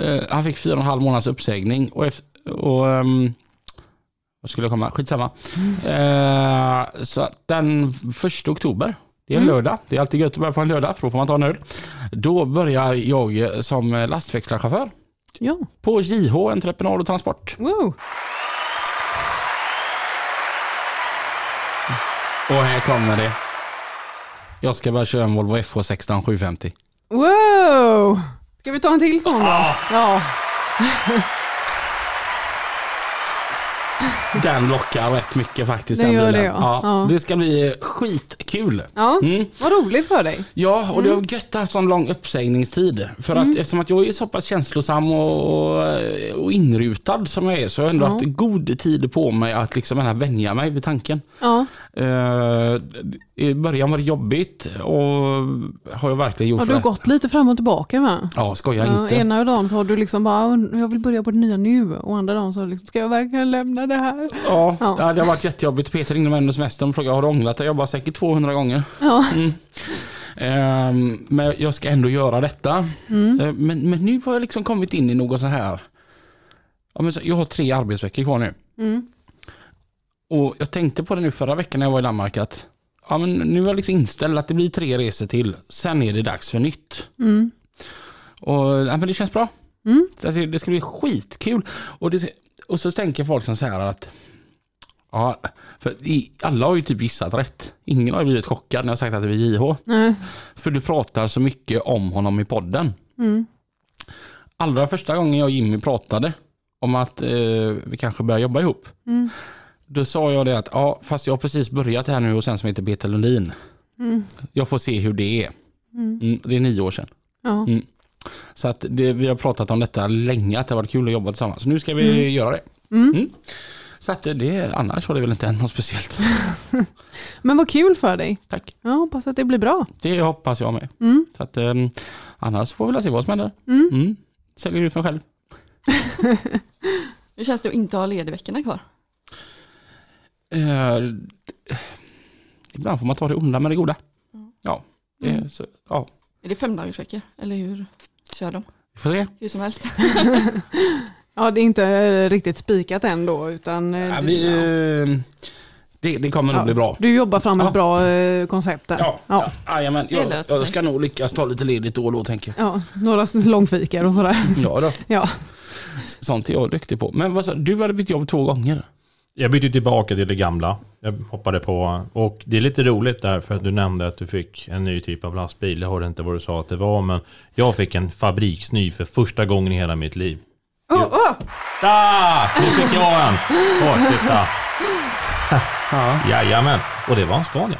Eh, han fick fyra och en halv månads uppsägning och, efter, och ehm, vad skulle jag komma? Skitsamma. Eh, så att den första oktober, det är en Mm. lördag, det är alltid gött att börja på en lördag för då får man ta en öl. Då börjar jag som lastväxlarchaufför Ja, på JH Entreprenad och Transport. wow. Och här kommer det. Jag ska bara köra en Volvo FH16 750. Wow! Ska vi ta en till sån då? Ah. Ja. Den lockar rätt mycket faktiskt. Den den gör bilen. det, ja. Ja. Det ska bli eh, skitkul. ja. Mm. Vad roligt för dig. Ja, och det Mm. var gött att ha haft sån lång uppsägningstid. För att eftersom att jag är så pass känslosam och, eh, och inrutad som jag är så har jag ändå Ja. haft god tid på mig att liksom ändå vänja mig vid tanken. Ja. Eh, I början var det jobbigt och har jag verkligen gjort Ja, du har det. gått lite fram och tillbaka va? Ja, skoja Ja, inte. ena dagen så har du liksom bara, "Ah, jag vill börja på det nya nu. Och andra dagen så har du liksom, ska jag verkligen lämna det här? Ja, Ja. det har varit jättejobbigt. Peter ringde mig under semestern och frågade har du ångrat dig? Jag bara säkert 200 gånger. Mm. Ja, Ehm, men jag ska ändå göra detta. Mm. Ehm, men, men nu har jag liksom kommit in i något så här. Ja, men så, jag har tre arbetsveckor kvar nu. mm. Och jag tänkte på det nu förra veckan när jag var i Danmark att ja, men nu har jag liksom inställt att det blir tre resor till. Sen är det dags för nytt. Mm. Och ja, men det känns bra. Mm. Så att Det det ska bli skitkul. Och, det, och så tänker folk som så här att Ja, för i, alla har ju typ gissat rätt. Ingen har ju blivit chockad när jag sagt att det är JH. Nej. För du pratar så mycket om honom i podden. Mm. Allra första gången jag och Jimmy pratade om att eh, vi kanske börjar jobba ihop. Mm. Då sa jag det att ja, fast jag har precis börjat här nu och sen som heter Peter Lundin. Mm. Jag får se hur det är. Mm. Mm, det är nio år sedan. Ja. Så att det, vi har pratat om detta länge, att det har varit kul att jobba tillsammans. Så nu ska vi göra det. Mm. Mm. Så att det, annars har det väl inte hänt något speciellt. Men vad kul för dig. Tack. Jag hoppas att det blir bra. Det hoppas jag med. Mm. Så att, eh, annars får vi väl se vad som händer. Mm. Mm. Säljer ut mig själv. Hur känns det att inte ha ledigveckorna kvar? Eh, ibland får man ta det onda med det goda. Mm. Ja, det är, så, ja. Är det femdagarsveckor? Eller hur kör de? Vi får se. Hur som helst. Ja, det är inte eh, riktigt spikat än då, utan eh, Ja, du- vi, ja. eh, det, det kommer nog Ja. bli bra. du jobbar fram ett Ja. bra eh, koncept där. Ja, ja. Ja. jajamän. Det jag, löser jag sig. ska nog lyckas ta lite ledigt då och då tänker jag. Ja, några s- långfikar och sådär. Ja, då. Ja. Sånt är jag duktig på. Men vad sa, du hade bytt jobb två gånger. Jag bytte tillbaka till det gamla. Jag hoppade på, och det är lite roligt där för att du nämnde att du fick en ny typ av lastbil. Jag hörde inte vad du sa att det var, men jag fick en fabriksny för första gången i hela mitt liv. Åh, åh! Da! Nu fick jag en! Åh, titta. Ja. Jajamän! Och det var en Scania.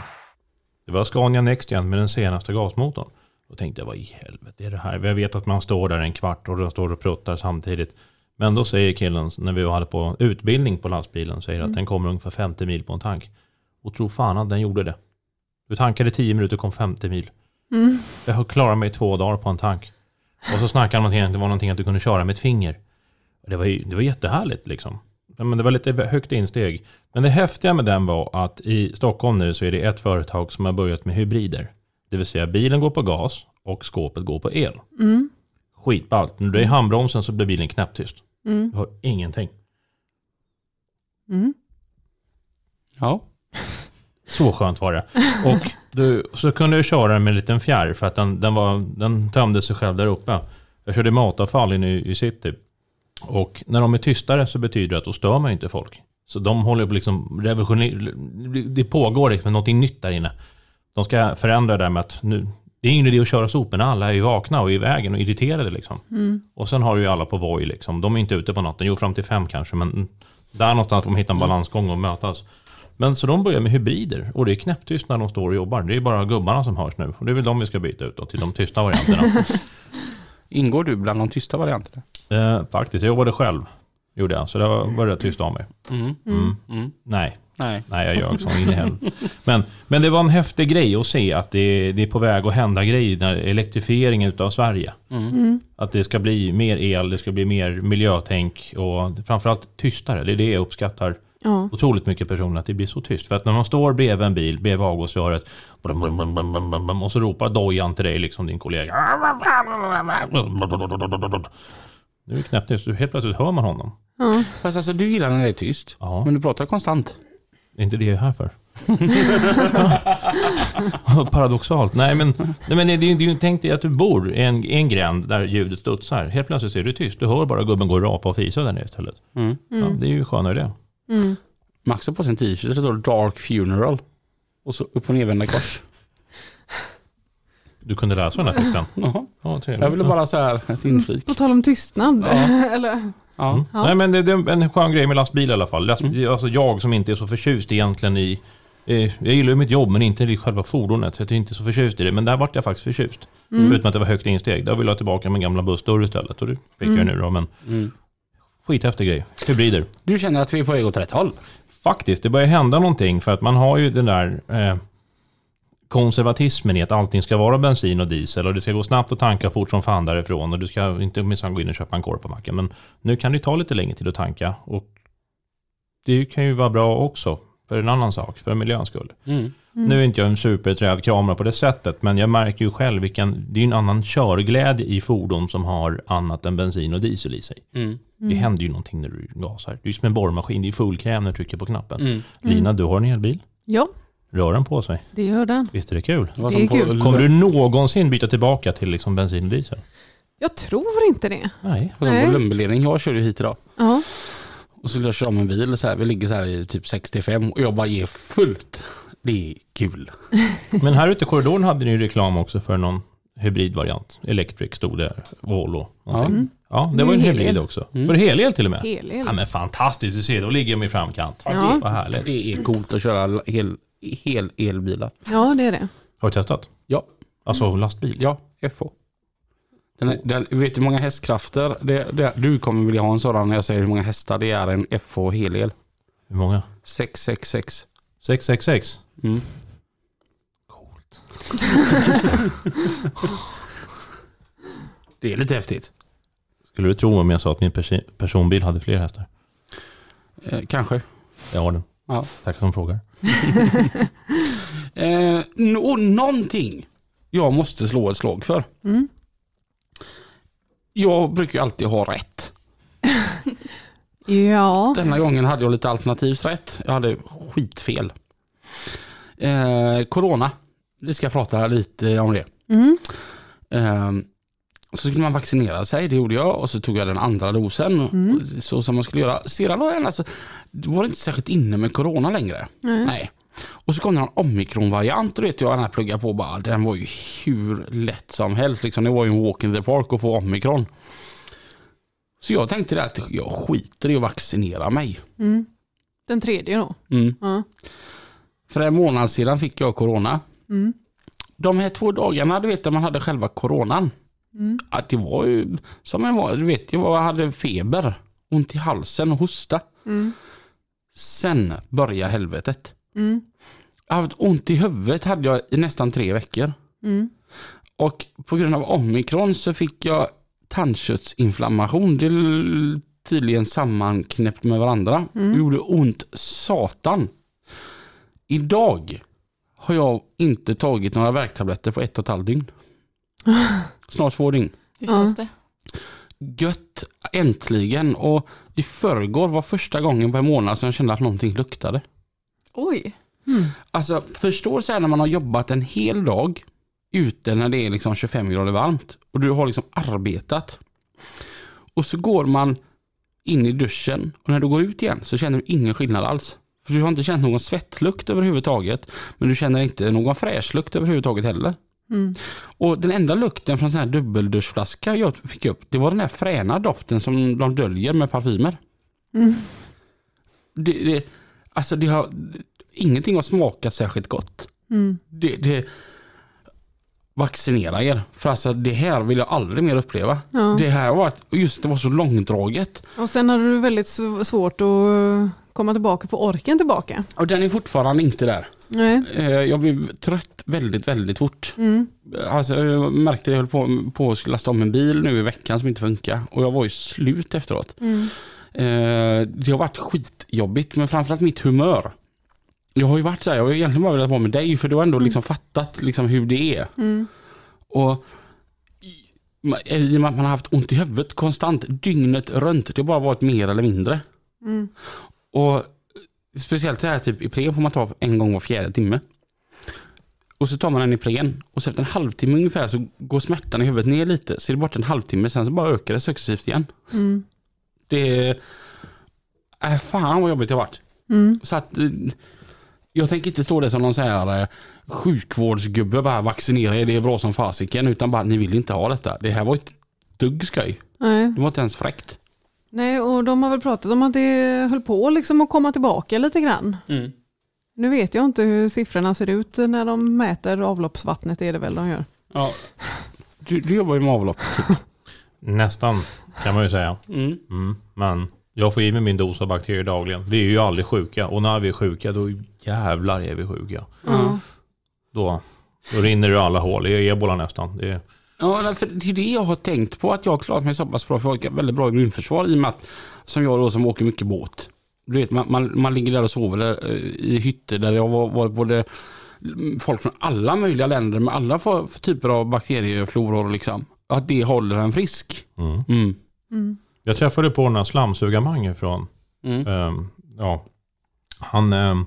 Det var Scania NextGen med den senaste gasmotorn. Då tänkte jag, vad i helvete är det här? Jag vet att man står där en kvart och de står och pruttar samtidigt. Men då säger killen, när vi hade på utbildning på lastbilen, säger att den kommer ungefär 50 mil på en tank. Och tro fan att den gjorde det. Du tankade 10 minuter och kom 50 mil. Mm. Jag har klarat mig i två dagar på en tank. Och så snackade han om att det var någonting att du kunde köra med ett finger. Det var, ju- det var jättehärligt liksom. Ja, Men det var lite högt insteg. Men det häftiga med den var att i Stockholm nu så är det ett företag som har börjat med hybrider. Det vill säga bilen går på gas och skåpet går på el. Mm. Skitballt. När du är i handbromsen så blir bilen knäpptyst. Mm. Du hör ingenting. Mm. Ja. Så skönt var det. Och du, så kunde du köra den med en liten fjärr för att den, den, var, den tömde sig själv där uppe. Jag körde matavfall inne i, i city. Och när de är tystare så betyder det att då stör man ju inte folk. Så de håller på liksom revolutionera, det pågår liksom någonting nytt där inne. De ska förändra det där med att nu, det är ingen idé att köra soporna, alla är ju vakna och i vägen och irriterade liksom. Mm. Och sen har du ju alla på Voi liksom. De är inte ute på natten. Jo, fram till fem kanske, men där någonstans får de hitta en balansgång och mötas. Men så de börjar med hybrider och det är knäpptyst när de står och jobbar. Det är bara gubbarna som hörs nu och det är väl de vi ska byta ut då, till de tysta varianterna. Ingår du bland de tysta varianterna? eh, faktiskt, jag jobbade själv. Gjorde jag, så det var, var rätt tyst av mig. Mm. Mm. Mm. Nej, Nej. nej jag ljög som in i helvete. Men, men det var en häftig grej att se att det, det är på väg att hända grejer när elektrifieringen utav Sverige. Mm. Mm. Att det ska bli mer el, det ska bli mer miljötänk och framförallt tystare. Det är det jag uppskattar Ja. otroligt mycket personer, att det blir så tyst. För att när man står bredvid en bil, bredvid avgasröret, brum, brum, brum, brum, brum, brum, brum, och så ropar dojan till dig, liksom din kollega. Nu är det knäpptyst, helt plötsligt hör man honom. Ja. mm, Fast alltså du gillar när det är tyst. Ja, Men du pratar konstant. är inte det jag är här för? Paradoxalt. Nej men, nej, men det, det, det, tänk dig att du bor i en, i en gränd där ljudet studsar. Helt plötsligt så är det tyst. Du hör bara gubben gå och rapa och fisa där nere istället. Mm. Ja, Mm. det är ju skönare det. Mm. Max har på sig en t-shirt där det står Dark Funeral. Och så upp och nervända kors. Du kunde läsa den här texten. Jaha. Ja, trevligt. Jag ville bara så här ett inflik. På tal om tystnad. Ja. Eller, Ja. Mm. Ja. Nej, men det, det är en skön grej med lastbil i alla fall. Last, Mm. alltså, jag som inte är så förtjust egentligen i... Eh, jag gillar ju mitt jobb men inte i själva fordonet. Så jag är inte så förtjust i det. Men där vart jag faktiskt förtjust. mm. Förutom att det var högt insteg. Där ville jag tillbaka min gamla bussdörr istället. Och det fick jag Mm. ju nu då. Men Mm. skithäftig grej. Hybrider. Du känner att vi är på väg åt rätt håll? Faktiskt, det börjar hända någonting. För att man har ju den där... Eh, konservatismen i att allting ska vara bensin och diesel och det ska gå snabbt att tanka fort som fan därifrån och du ska inte minsann gå in och köpa en korv på macken. Men nu kan det ju ta lite längre tid att tanka och det kan ju vara bra också för en annan sak, för miljöns skull. Mm. Mm. Nu är inte jag en superträdkramare på det sättet, men jag märker ju själv vilken, det är ju en annan körglädje i fordon som har annat än bensin och diesel i sig. Mm. Det händer ju någonting när du gasar. Det är som en borrmaskin, det är full kräm när du trycker på knappen. Mm. Mm. Lina, du har en elbil. Ja, Rör den på sig. det gör den. Visst är det kul? Det var Det som är på- kul. Kommer du någonsin byta tillbaka till liksom bensin och diesel? Jag tror inte det. Nej. Det var som på Nej. Lundbyledning. Jag körde ju hit idag. Ja. Och så skulle jag köra om en bil. Så här. Vi ligger så här i typ 65 och jag bara ger fullt. Det är kul. Men här ute i korridoren hade ni ju reklam också för någon hybridvariant. Electric stod det, Volvo. Ja. någonting. Ja, det Nu var är en det hybrid helel. också. Mm. Var det helel till och med? Helel. Ja men fantastiskt, du ser, då ligger de i framkant. Ja. Vad härligt. Det är coolt att köra hel, hel elbilar. ja, det är det. Har du testat? Ja. Alltså lastbil? Ja, FH. Den, är- den, vet du hur många hästkrafter? Det, det, du kommer vilja ha en sådan när jag säger hur många hästar det är en FH helel. Hur många? 666. 666? Mm. Coolt. Det är lite häftigt. Skulle du tro om jag sa att min persi- personbil hade fler hästar? Eh, kanske. Jag har den. Ja. Tack som frågar. Eh, n- och någonting jag måste slå ett slag för. Mm. Jag brukar ju alltid ha rätt. Ja. Denna gången hade jag lite alternativt rätt. Jag hade skitfel. Eh, corona. Vi ska prata lite om det. Mm. Ehm, Så skulle man vaccinera sig, det gjorde jag och så tog jag den andra dosen. Mm. Så som man skulle göra. Sedan var, jag, alltså, då var det inte särskilt inne med corona längre. Nej. Nej. Och så kom det en omikronvariant och då vet jag den här plugga på bara, den var ju hur lätt som helst. Liksom, det var ju en walk in the park att få omikron. Så jag tänkte det att jag skiter i att vaccinera mig. Mm. Mm. Den tredje då. Ja. För en månad sedan fick jag corona. Mm. De här två dagarna, du vet när man hade själva coronan. Mm. att det var ju som en var, du vet jag var- hade feber, ont i halsen och hosta. Mm. Sen började helvetet. Mm. Jag har haft ont i huvudet hade jag i nästan tre veckor. Mm. Och på grund av omikron så fick jag tandköttsinflammation. Det är l- tydligen sammanknäppt med varandra. Det gjorde ont satan. Idag har jag inte tagit några värktabletter på ett och ett halvt dygn. Snart två dygn. Hur känns det? Gött, äntligen. Och i förrgår var första gången på en månad som jag kände att någonting luktade. Oj, Alltså förstår så här när man har jobbat en hel dag ute när det är liksom 25 grader varmt och du har liksom arbetat. Och så går man in i duschen och när du går ut igen så känner du ingen skillnad alls. För du har inte känt någon svettlukt överhuvudtaget men du känner inte någon fräschlukt överhuvudtaget heller. Mm. Och den enda lukten från sån här dubbelduschflaska jag fick upp, det var den här fräna doften som de döljer med parfymer. Mm. Det, det, alltså det har, ingenting har smakat särskilt gott. Mm. Det, det, vaccinera er, för alltså det här vill jag aldrig mer uppleva. Ja. Det här var, och just det var så långdraget. Och sen hade du väldigt sv- svårt att eh, komma tillbaka, få orken tillbaka. Och den är fortfarande inte där. Nej. Eh, Jag blev trött väldigt, väldigt fort. Mm. Alltså, jag märkte det, jag höll på, på att lasta om en bil nu i veckan som inte funkar. Och jag var ju slut efteråt. Mm. Eh, det har varit skitjobbigt men framförallt mitt humör. Jag har ju varit så här, jag har ju egentligen bara velat vara med dig för du har ändå liksom fattat liksom hur det är. Mm. Och i- ma- i och med att man har haft ont i huvudet konstant dygnet runt. Det har bara varit mer eller mindre. Mm. Och speciellt det här typ Ipren får man ta en gång var fjärde timme. Och så tar man en Ipren och så efter en halvtimme ungefär så går smärtan i huvudet ner lite. Så är det borta en halvtimme sen så bara ökar det successivt igen. Mm. Det är... Äh, fan vad jobbigt det har varit. Mm. Så att, eh, jag tänker inte stå där som någon så här eh, sjukvårdsgubbe bara vaccinera er, det är bra som fasiken. Utan bara ni vill inte ha detta. Det här var ett dugg skoj. Nej. Det var inte ens fräckt. Nej, och de har väl pratat om att det höll på liksom att komma tillbaka lite grann. Mm. Nu vet jag inte hur siffrorna ser ut när de mäter avloppsvattnet, är det väl de gör. Ja. Du, du jobbar ju med avlopp. Nästan, kan man ju säga. Mm. Mm. Men jag får i mig min dos av bakterier dagligen. Vi är ju aldrig sjuka och när vi är sjuka då jävlar är vi sjuka. Ja. Då, då rinner det ur alla hål. Det är ebola nästan. Det är, Ja, nej, för det är det jag har tänkt på, att jag har klarat mig så pass bra, för jag har ett väldigt bra immunförsvar i och med att, som jag då som åker mycket båt. Du vet, man, man, man ligger där och sover där, eh, i hytter där jag var, var både folk från alla möjliga länder med alla för, för typer av bakteriefloror liksom. Att det håller en frisk. mm. Mm. Mm. Jag träffade på den här slamsugarmangen från Mm. Ehm, ja. Han, ehm,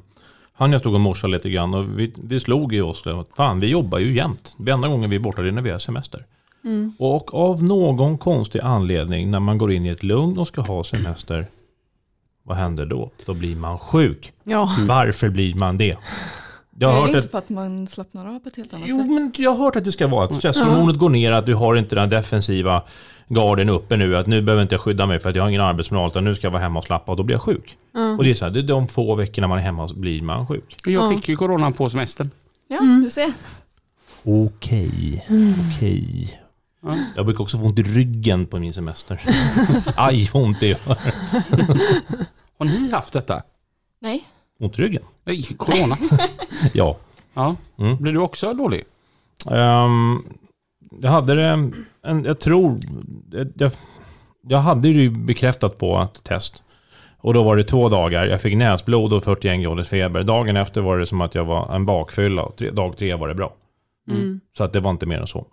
han jag stod och morsade lite grann och vi, vi slog i oss det. att Fan, vi jobbar ju jämt. Det enda gången vi är borta det är när vi har semester. Mm. Och av någon konstig anledning när man går in i ett lugn och ska ha semester, vad händer då? Då blir man sjuk. Ja. Varför blir man det? Jag är har hört det inte att, för att man slappnar av på ett helt annat jo, sätt? men jag har hört att det ska vara att stresshormonet går ner, att du har inte den defensiva garden uppe nu, att nu behöver inte jag skydda mig för att jag har ingen arbetsmoral, utan nu ska jag vara hemma och slappa och då blir jag sjuk. Ja. Och det är så här, det är de få veckorna man är hemma så blir man sjuk. Jag Ja. fick ju corona på semestern. Ja, Mm. du ser. Okej, okej. Ja. Jag brukar också få ont i ryggen på min semester. Aj, vad ont det gör. Har ni haft detta? Nej, Ont i ryggen? Nej, corona. Ja. Ja. Mm. Blir du också dålig? Ehm, jag hade det, en, jag tror, jag, jag hade det ju bekräftat på ett test. Och då var det två dagar, jag fick näsblod och 41 graders feber. Dagen efter var det som att jag var en bakfylla och tre, dag tre var det bra. Mm. Så att det var inte mer än så.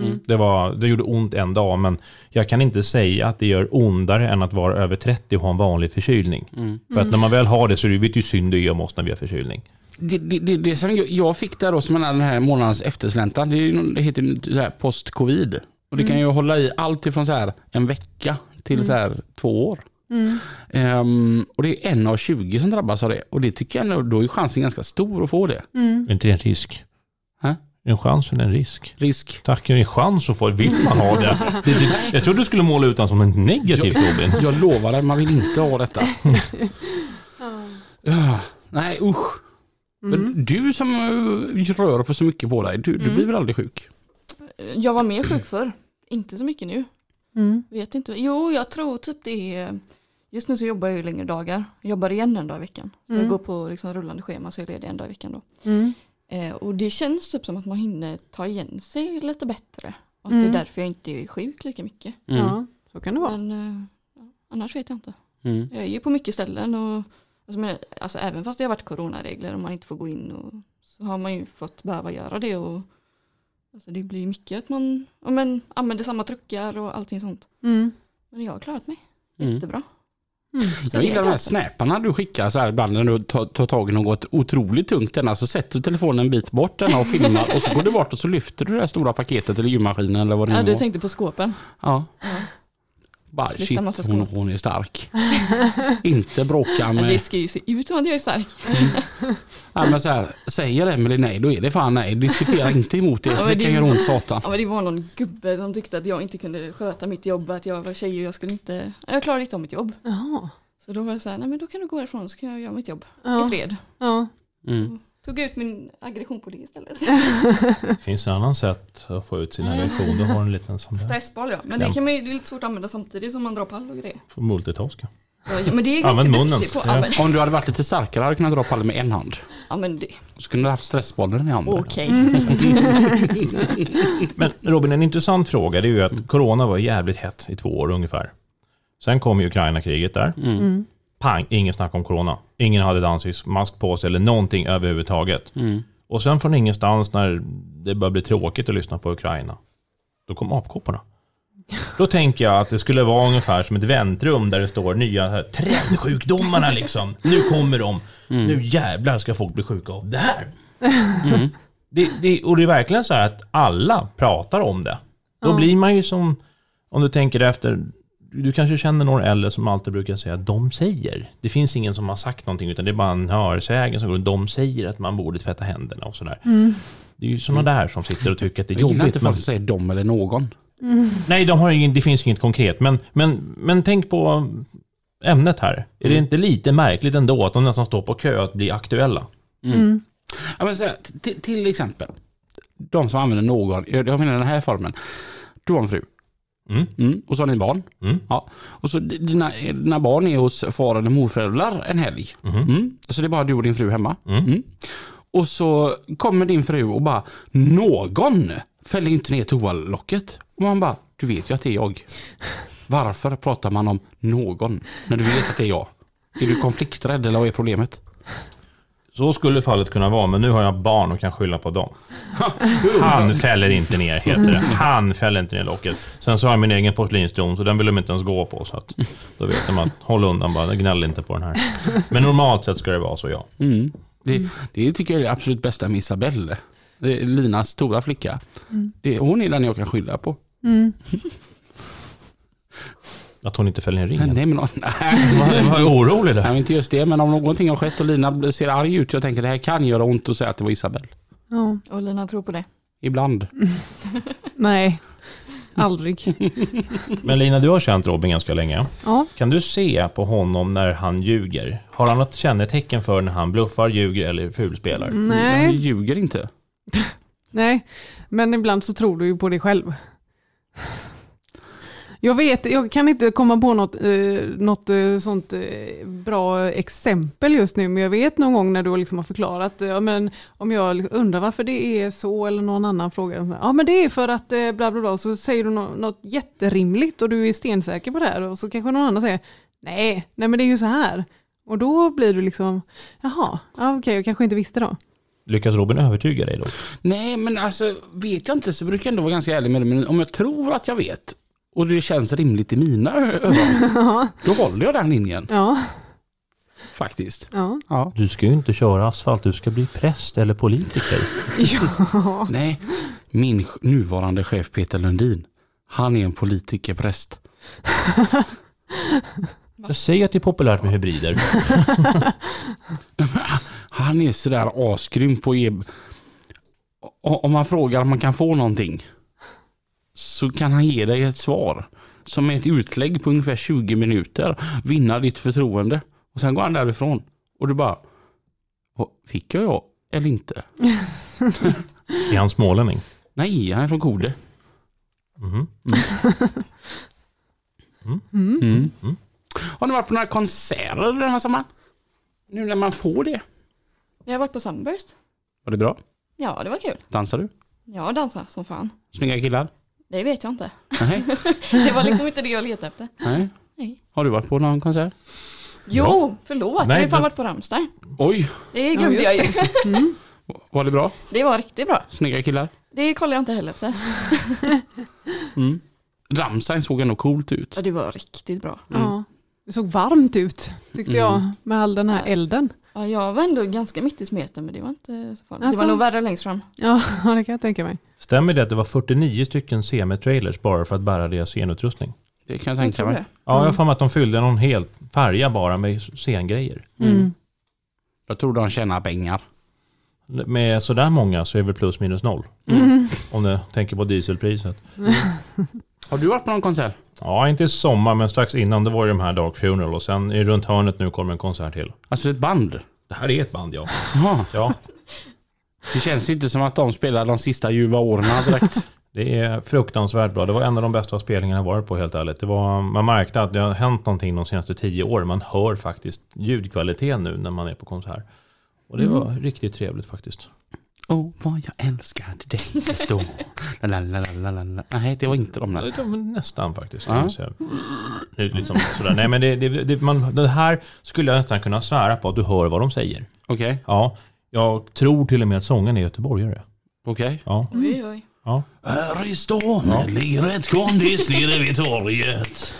Mm. Det, var, det gjorde ont en dag, men jag kan inte säga att det gör ondare än att vara över 30 och ha en vanlig förkylning. Mm. För att när man väl har det så är det vet ju synd det gör om oss när vi har förkylning. Det, det, det, det som jag- jag fick där då som är den här månadens eftersläntan, det, är ju någon- det heter ju så här post-covid. Och det kan ju hålla i allt ifrån så här en vecka till så här två år. Mm. Ehm, och det är en av 20 som drabbas av det. Och det tycker jag ändå, då är ju chansen ganska stor att få det. Mm. Är inte det en risk? Hä? En chans eller en risk? Risk. Tack, en chans att få Vill man ha det? det, det jag trodde du skulle måla ut den som en negativ Robin. Jag lovar dig, man vill inte ha detta. Ah, Nej usch. Mm. Men du som eh, rör på så mycket på dig, du, du blir väl aldrig sjuk? jag var mer sjuk förr. Inte så mycket nu. Mm. Vet inte. Jo, jag tror typ det är... Just nu så jobbar jag ju längre dagar. Jag jobbar igen en dag i veckan. Så Mm. Jag går på liksom rullande schema så jag är ledig en dag i veckan då. Mm. Eh, och det känns typ som att man hinner ta igen sig lite bättre. Och att Mm. det är därför jag inte är sjuk lika mycket. Mm. Ja, så kan det vara. Men eh, ja, annars vet jag inte. Mm. Jag är ju på mycket ställen och alltså, men, alltså, även fast det har varit coronaregler och man inte får gå in och, så har man ju fått behöva göra det. Och, alltså, det blir ju mycket att man ja, men, använder samma truckar och allting sånt. Mm. Men jag har klarat mig Mm. jättebra. Mm. Jag gillar de här snäparna du skickar så här ibland när du tar, tar tag i något otroligt tungt. Denna, så sätter du telefonen en bit bort denna och filmar och så går du bort och så lyfter du det här stora paketet eller gymmaskinen eller vad det Ja, nu du var. tänkte på skåpen. Ja. Ja. Bara Flytta shit, massa hon, skor. hon är stark. Inte bråka Men det med... ska ju se ut som att jag är stark. Ja, men så här, säger Emelie nej, då är det fan nej. Diskutera inte emot det, Ja, för men det det- kan göra ont satan. Ja, men det var någon gubbe som tyckte att jag inte kunde sköta mitt jobb, att jag var tjej och jag skulle inte, jag klarade inte av mitt jobb. Jaha. Så då var det så här, nej men då kan du gå härifrån så kan jag göra mitt jobb i Ja. fred. Ja. Mm. Tog ut min aggression på det istället. Finns det annan sätt att få ut sin aggression? Du har en liten sån där. Stressboll ja, men det, kan man ju, det är lite svårt att använda samtidigt som man drar pall och grejer. Får multitaska. Ja, men det är ganska Använd munnen. duktig på. Ja, Ja. men, Om du hade varit lite starkare hade du kunnat dra pallen med en hand. ja, men det, Så kunde du haft stressbollen i handen. okej. Men Robin, en intressant fråga det är ju att corona var jävligt hett i två år ungefär. Sen kom ju Ukraina-kriget där. Mm. Pang, ingen snack om corona. Ingen hade ett ansiktsmask på sig eller någonting överhuvudtaget. Mm. Och sen från ingenstans när det började bli tråkigt att lyssna på Ukraina, då kom apkopporna. Då tänker jag att det skulle vara ungefär som ett väntrum där det står nya här, trendsjukdomarna liksom. Nu kommer de. Mm. Nu jävlar ska folk bli sjuka av det här. Mm. Det, det, och det är verkligen så här att alla pratar om det. Då Ja. blir man ju som, om du tänker efter, du kanske känner någon äldre som alltid brukar säga de säger. Det finns ingen som har sagt någonting utan det är bara en hörsägen som går de säger att man borde tvätta händerna och sådär. Det är ju sådana där som sitter och tycker att det är Jag gillar inte jobbigt. Men, folk som säger dom eller någon. nej, de har ingen, det finns inget konkret. Men, men, men tänk på ämnet här. Är det inte lite märkligt ändå att de nästan står på kö att bli aktuella? Mm. Ja, men så här, t- t- till exempel, de som använder någon, jag jag menar den här formen. Du har en fru Mm. mm, och så har ni barn. Mm. Ja. Och så d- dina, dina barn är hos far eller morföräldrar en helg. mhm. Mm. Så det är bara du och din fru hemma. Mm. Och så kommer din fru och bara, någon fäller inte ner toalocket. Och man bara, du vet ju att det är jag. Varför pratar man om någon när du vet att det är jag? Är du konflikträdd eller vad är problemet? Så skulle fallet kunna vara, men nu har jag barn och kan skylla på dem. Han fäller inte ner, heter det. Han fäller inte ner locket. Sen så har jag min egen porslinsdom, så den vill de inte ens gå på. Så att, då vet de att håll undan bara, gnäll inte på den här. Men normalt sett ska det vara så, ja. Mm. Det, det tycker jag är det absolut bästa med Isabelle. Det är Linas stora flicka. Det, hon är den jag kan skylla på. Mm. Att hon inte fäller ner Nej, ringen. nej, men, nej, Jag var nej, orolig där. men inte just det. Men om någonting har skett och Lina ser arg ut. Jag tänker det här kan göra ont att säga att det var Isabelle. Ja. Och Lina tror på det. Ibland. Nej, aldrig. Men Lina, du har känt Robin ganska länge. Ja. Kan du se på honom när han ljuger? Har han något kännetecken för när han bluffar, ljuger eller fulspelar? Jag Nej. ljuger inte. Nej, men ibland så tror du ju på dig själv. Jag vet, jag kan inte komma på något, eh, något eh, sånt eh, bra exempel just nu, men jag vet någon gång när du liksom har förklarat, eh, ja, men om jag liksom undrar varför det är så eller någon annan fråga, så här, ja men det är för att eh, bla bla bla, så säger du nå- något jätterimligt och du är stensäker på det här och så kanske någon annan säger, nej, nej men det är ju så här. Och då blir du liksom, jaha, ja, okej jag kanske inte visste då. Lyckas Robin övertyga dig då? Nej, men alltså vet jag inte så brukar jag ändå vara ganska ärlig med det. Men om jag tror att jag vet och det känns rimligt i mina ö- öron. då håller jag den linjen Ja, faktiskt. ja. Ja. Du ska ju inte köra asfalt, du ska bli präst eller politiker. ja. Nej, min ch- nuvarande chef Peter Lundin, han är en politikerpräst. Jag säger att det är populärt med hybrider. Han är sådär asgrym på att ge... O- Om man frågar om man kan få någonting så kan han ge dig ett svar som är ett utlägg på ungefär 20 minuter, vinna ditt förtroende och sen går han därifrån och du bara, "Vad, fick jag ja eller inte? Är han smålänning? Nej, han är från Kode. Mhm. Mm. Har ni varit på några konserter den här sommaren? Nu när man får det. Jag har varit på Sunburst. Var det bra? Ja, det var kul. Dansar du? Jag dansade som fan. Snygga killar? Det vet jag inte. Nej. Det var liksom inte det jag letade efter. Nej. Nej. Har du varit på någon konsert? Jo, Ja. förlåt. jag har Nej, ju fan men- varit på Rammstein. Oj, Det glömde Ja, jag ju. just Mm. var det bra? Det var riktigt bra. Snygga killar? Det kollade jag inte heller efter. Mm. Rammstein såg ändå coolt ut. Ja, det var riktigt bra. Ja. Det såg varmt ut tyckte Mm. jag med all den här elden. Ja, jag var ändå ganska mitt i smeten men det var inte så farligt. Det Alltså. var nog värre längst fram. Ja, det kan jag tänka mig. Stämmer det att det var 49 stycken semi-trailers bara för att bära deras scenutrustning? Det kan jag Jag tänka tror mig. det. Ja, jag har för mig att de fyllde någon hel färja bara med scengrejer. Mm. Jag tror de tjänar pengar. Med sådär många så är väl plus minus noll. Om du tänker på dieselpriset. Har du varit på någon konsert? Ja, inte i sommar men strax innan det var ju de här Dark Funeral och sen är runt hörnet nu kommer en konsert till. Alltså ett band? Det här är ett band ja. Jaha. ja Det känns ju inte som att de spelar de sista ljuva åren direkt. det är fruktansvärt bra. Det var en av de bästa spelningarna jag varit på helt ärligt. Det var, man märkte att det har hänt någonting de senaste tio åren. Man hör faktiskt ljudkvaliteten nu när man är på konsert. Och det var riktigt trevligt faktiskt. Åh, oh, vad jag älskade dig just då. La, la, la, la, la, la. Nej, det var inte de där. Ja, men nästan faktiskt. Ja. kan man säga. Det är Liksom sådär. Nej, men det, det, det, man, det här skulle jag nästan kunna svära på att du hör vad de säger. Okej, Ja, jag tror till och med att sången är göteborgare. okej. Ja. Oj, oj. Ja. Här i stan ligger ett kondis nere vid torget.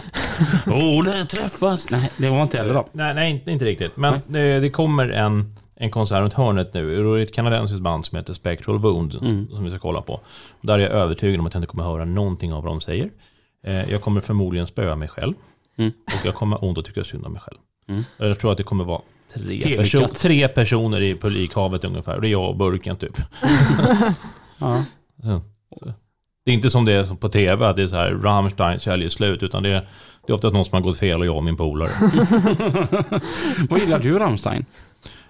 Och där träffas... Nej, det var inte heller de. Nej, nej inte, inte riktigt. Men eh, det, det kommer en, en konsert runt hörnet nu. Och Det är ett kanadensiskt band som heter Spectral Wound Mm. som vi ska kolla på. Där är jag övertygad om att jag inte kommer höra någonting av vad de säger. Eh, Jag kommer förmodligen spöa mig själv. Mm. Och jag kommer ha ont och tycka synd om mig själv. Mm. Jag tror att det kommer vara tre, Helikat. perso- tre personer i publikhavet ungefär. Och det är jag och burken typ. Ja. Så, så. Det är inte som det är på tv, att det är så här Rammstein säljer slut, utan det är, det är oftast någon som har gått fel och jag och min polare. Vad gillar du Rammstein?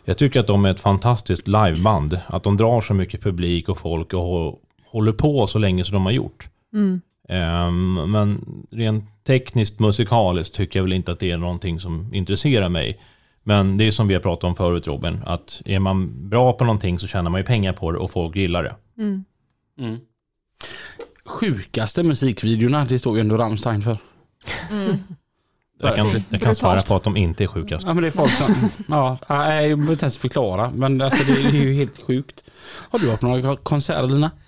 Jag tycker att de är ett fantastiskt liveband. Att de drar så mycket publik och folk och hå- håller på så länge som de har gjort. Mm. Ehm, men rent tekniskt musikaliskt tycker jag väl inte att det är någonting som intresserar mig. Men det är som vi har pratat om förut Robin, att är man bra på någonting så tjänar man ju pengar på det och folk gillar det. Mm. Sjukaste musikvideorna, det står ju ändå Rammstein för. Mm. Jag kan, jag kan Brutalt. svära på att de inte är sjukast. Ja men det är folk som... Ja, nej, jag behöver inte ens förklara. Men alltså, det är ju helt sjukt. Har du varit på några konserter Lina?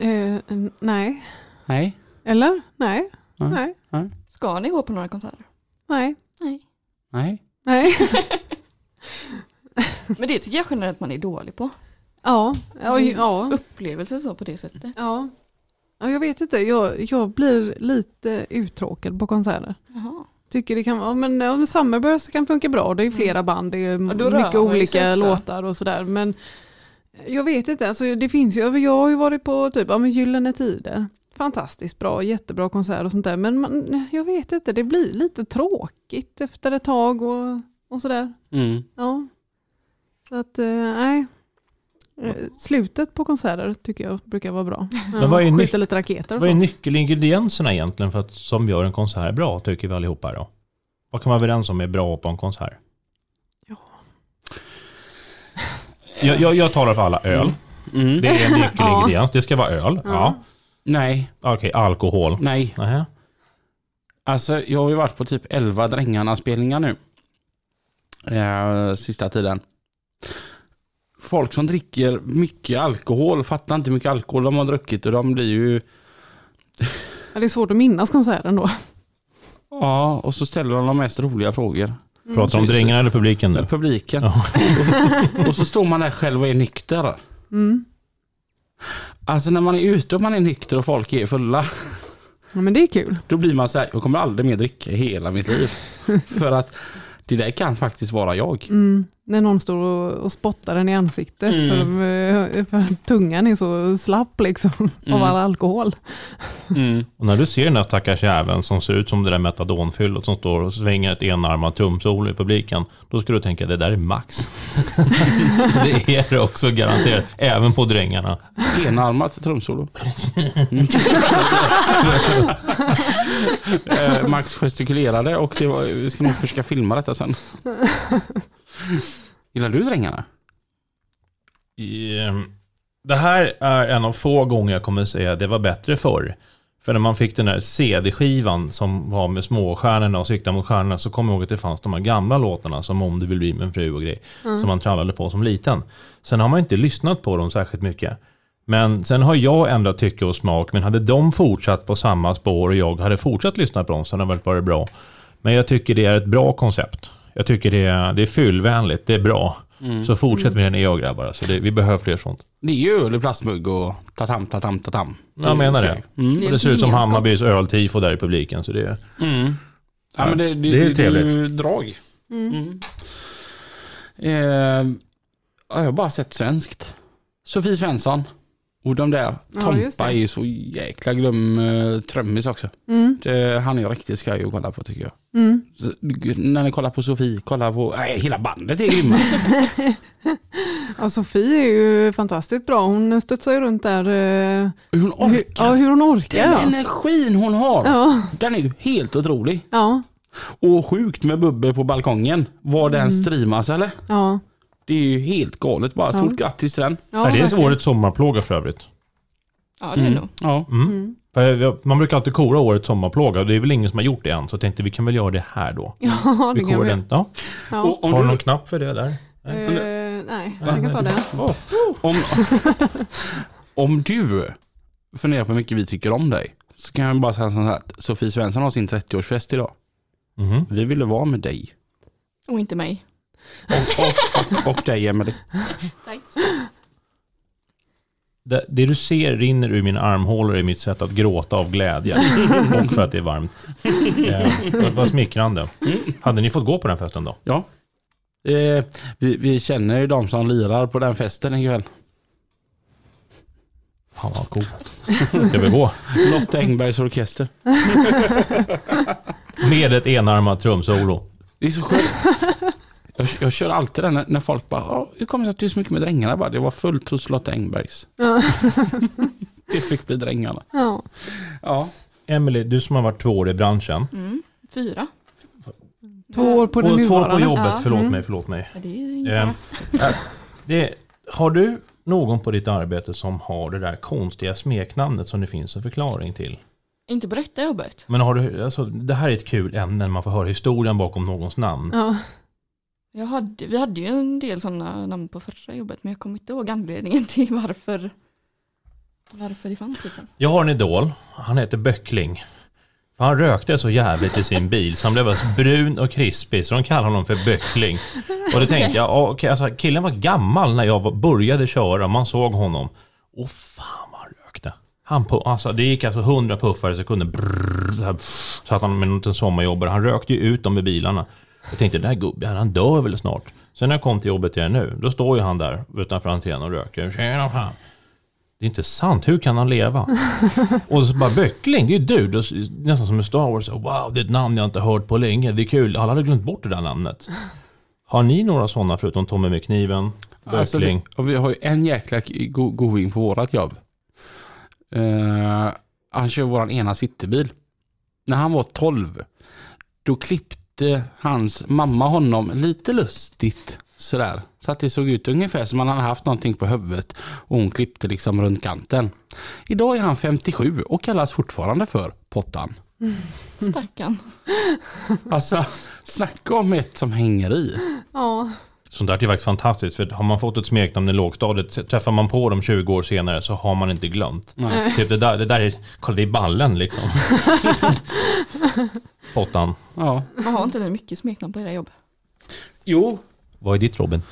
Eh, n- nej, Nej. eller? Nej, Nej. nej, Ska ni gå på några konserter? nej, Nej. Nej. nej. Men det tycker jag generellt man är dålig på. Ja, ja, ja. Upplevelser så på det sättet. ja. ja jag vet inte, jag, jag blir lite uttråkad på konserter. Jaha. Tycker det kan vara, men ja, men Summerburst kan funka bra, det är ju flera band, det är Mm. Ja, då rör mycket man ju sig olika också. låtar och sådär. Men jag vet inte, alltså, det finns ju, jag har ju varit på typ, ja men Gyllene Tider, fantastiskt bra, jättebra konsert och sånt där. Men man, jag vet inte, det blir lite tråkigt efter ett tag och, och sådär. Mm. Ja. Så att, eh, nej. Eh, Slutet på konserter tycker jag brukar vara bra. Men vad är Skjuta nyc- lite raketer och Vad är så. nyckelingredienserna egentligen för att, som gör en konsert bra, tycker vi allihopa då? Vad kan man vara överens om är bra på en konsert? Ja. Jag, jag, jag talar för alla. Öl. Mm. Det är en nyckelingrediens. Det ska vara öl. Ja. Ja. Mm. Nej, Okej, alkohol. nej. Nähä. Alltså jag har ju varit på typ 11 Drängarna-spelningar nu. Eh, sista tiden. Folk som dricker mycket alkohol fattar inte hur mycket alkohol de har druckit och de blir ju... Ja, det är svårt att minnas konserten då. Ja, och så ställer de de mest roliga frågor. Pratar du om Så- drängarna eller publiken nu? Med publiken. Ja. och så står man där själv och är nykter. Mm. Alltså när man är ute och man är nykter och folk är fulla, Ja, men det är kul. då blir man så här, jag kommer aldrig mer dricka i hela mitt liv. För att det där kan faktiskt vara jag. Mm, när någon står och, och spottar den i ansiktet Mm. för, de, eh, för att tungan är så slapp liksom Mm. av all alkohol. Och när du ser den där stackars jäveln som ser ut som det där metadonfyllot som står och svänger ett enarmat tumsol i publiken, då ska du tänka det där är Max. det är det också garanterat, även på drängarna. Enarmat trumsolo. Mm. Eh, Max gestikulerade och det var, vi ska nog försöka filma detta sen. Gillar du Drängarna? Ehm, Det här är en av få gånger jag kommer säga att det var bättre förr. För när man fick den där CD-skivan som var med småstjärnorna och sikta mot stjärnorna så kom jag ihåg att det fanns de här gamla låtarna som Om du vill bli min fru och grej. Som man trallade på som liten. Sen har man inte lyssnat på dem särskilt mycket. Men sen har jag ändrat tycke och smak. Men hade de fortsatt på samma spår och jag hade fortsatt lyssna på dem så hade det varit bra. Men jag tycker det är ett bra koncept. Jag tycker det är, det är fyllvänligt, det är bra. Mm. Så fortsätt Mm. med det ni gör grabbar. Alltså det, vi behöver fler sånt. Det är ju öl i plastmugg och tatam, tatam, tatam. Jag menar det. Mm. Och det ser ut som Hammarbys öltifo där i publiken. Så det är, Mm. Ja, men det, det, Det är ju det, det är trevligt. ju drag. Mm. Eh, ja, jag har bara sett svenskt. Sofie Svensson. Och de där. Ja, just det. Tompa är ju så jäkla glöm eh, trummis också. Mm, Det, han är riktigt skoj att kolla på tycker jag. mm. Så, g- När ni kollar på Sofie, kolla på... Nej, hela bandet är grymma. Ja, Sofie är ju fantastiskt bra. Hon studsar ju runt där. eh, Hur Hon hur, ja, orkar. hur hon orkar. Den Ja. energin hon har. Ja, Den är ju helt otrolig. ja, Och sjukt med bubbel på balkongen. Var den Mm. streamas eller? ja. Det är ju helt galet bara. Stort Ja. grattis till den. ja det är verkligen. årets sommarplåga för övrigt. Ja, det är nog. Ja. Mm. För jag- Man brukar alltid kora årets sommarplåga och det är väl ingen som har gjort det än. Så jag tänkte vi kan väl göra det här då. Ja, Vi det kan korar vi. den. Ja. Ja. Och om Har du du- någon knapp för det där? Eh, nej, jag kan ta den. Åh, Om, om du funderar på hur mycket vi tycker om dig så kan jag bara säga så här att Sofie Svensson har sin 30-årsfest idag. mhm. Vi ville vara med dig. Och inte mig. Och, och, och, och dig Emelie. Det, det du ser rinner ur min armhålor i mitt sätt att gråta av glädje. och för att det är varmt. Eh, det var smickrande. Hade ni fått gå på den festen då? Ja. Eh, vi, vi känner ju de som lirar på den festen ikväll. Fan vad cool. Ska vi gå? Lotta Engbergs orkester. Med ett enarmat trumsolo. Det är så skönt. Jag, jag kör alltid den när, när folk bara, "Ja, hur kommer det sig att du är så mycket med drängarna? Jag Bara, det var fullt hos Lotta Engbergs. Ja. Det fick bli drängarna. Ja. Ja. Emelie, du som har varit två år i branschen. Mm. Fyra. Två år på det Och två år nuvarande. på jobbet, Ja. förlåt Mm. mig, förlåt mig. Ja, det är inga. Eh, det, har du någon på ditt arbete som har det där konstiga smeknamnet som det finns en förklaring till? Inte på detta jobbet. Men har du, alltså, det här är ett kul ämne när man får höra historien bakom någons namn. Mm. Ja. Jag hade, vi hade ju en del sådana namn på förra jobbet men jag kommer inte ihåg anledningen till varför, varför det fanns liksom. Jag har en idol, han heter Böckling. För Han rökte så jävligt i sin bil så han blev alltså brun och krispig så de kallar honom för Böckling. Och då tänkte jag, ja, okej, alltså, killen var gammal när jag var- började köra och man såg honom. Och fan vad han rökte. Han på, alltså, det gick alltså 100 puffar i sekunden. Brrr, så här, så att han med en liten sommarjobbare, han rökte ju ut dem i bilarna. Jag tänkte den här gubben, han dör väl snart. Sen när jag kom till jobbet igen nu, då står ju han där utanför entrén och röker. Tjena fan. Det är inte sant, hur kan han leva? Och så bara böckling, det är ju du. Då s- Nästan som i Star Wars. Wow, det är ett namn jag inte hört på länge. Det är kul. Alla hade glömt bort det där namnet. Har ni några sådana förutom Tommy med kniven? Böckling? Alltså, vi, och vi har ju en jäkla k- go- going på vårat jobb. Eh, han kör våran ena citybil. När han var 12, då klippte hans mamma honom lite lustigt. Sådär. Så att det såg ut ungefär som om han hade haft någonting på huvudet och hon klippte liksom runt kanten. Idag är han 57 och kallas fortfarande för Pottan. Stackarn. Alltså, snacka om ett som hänger i. Ja. Sånt där är ju faktiskt fantastiskt. För har man fått ett smeknamn i lågstadiet, träffar man på dem 20 år senare så har man inte glömt. Nej. Typ det där, det där är, kolla det är ballen liksom. Pottan. Ja. Man har inte det mycket smeknamn på era jobb. Jo, Vad är ditt Robin?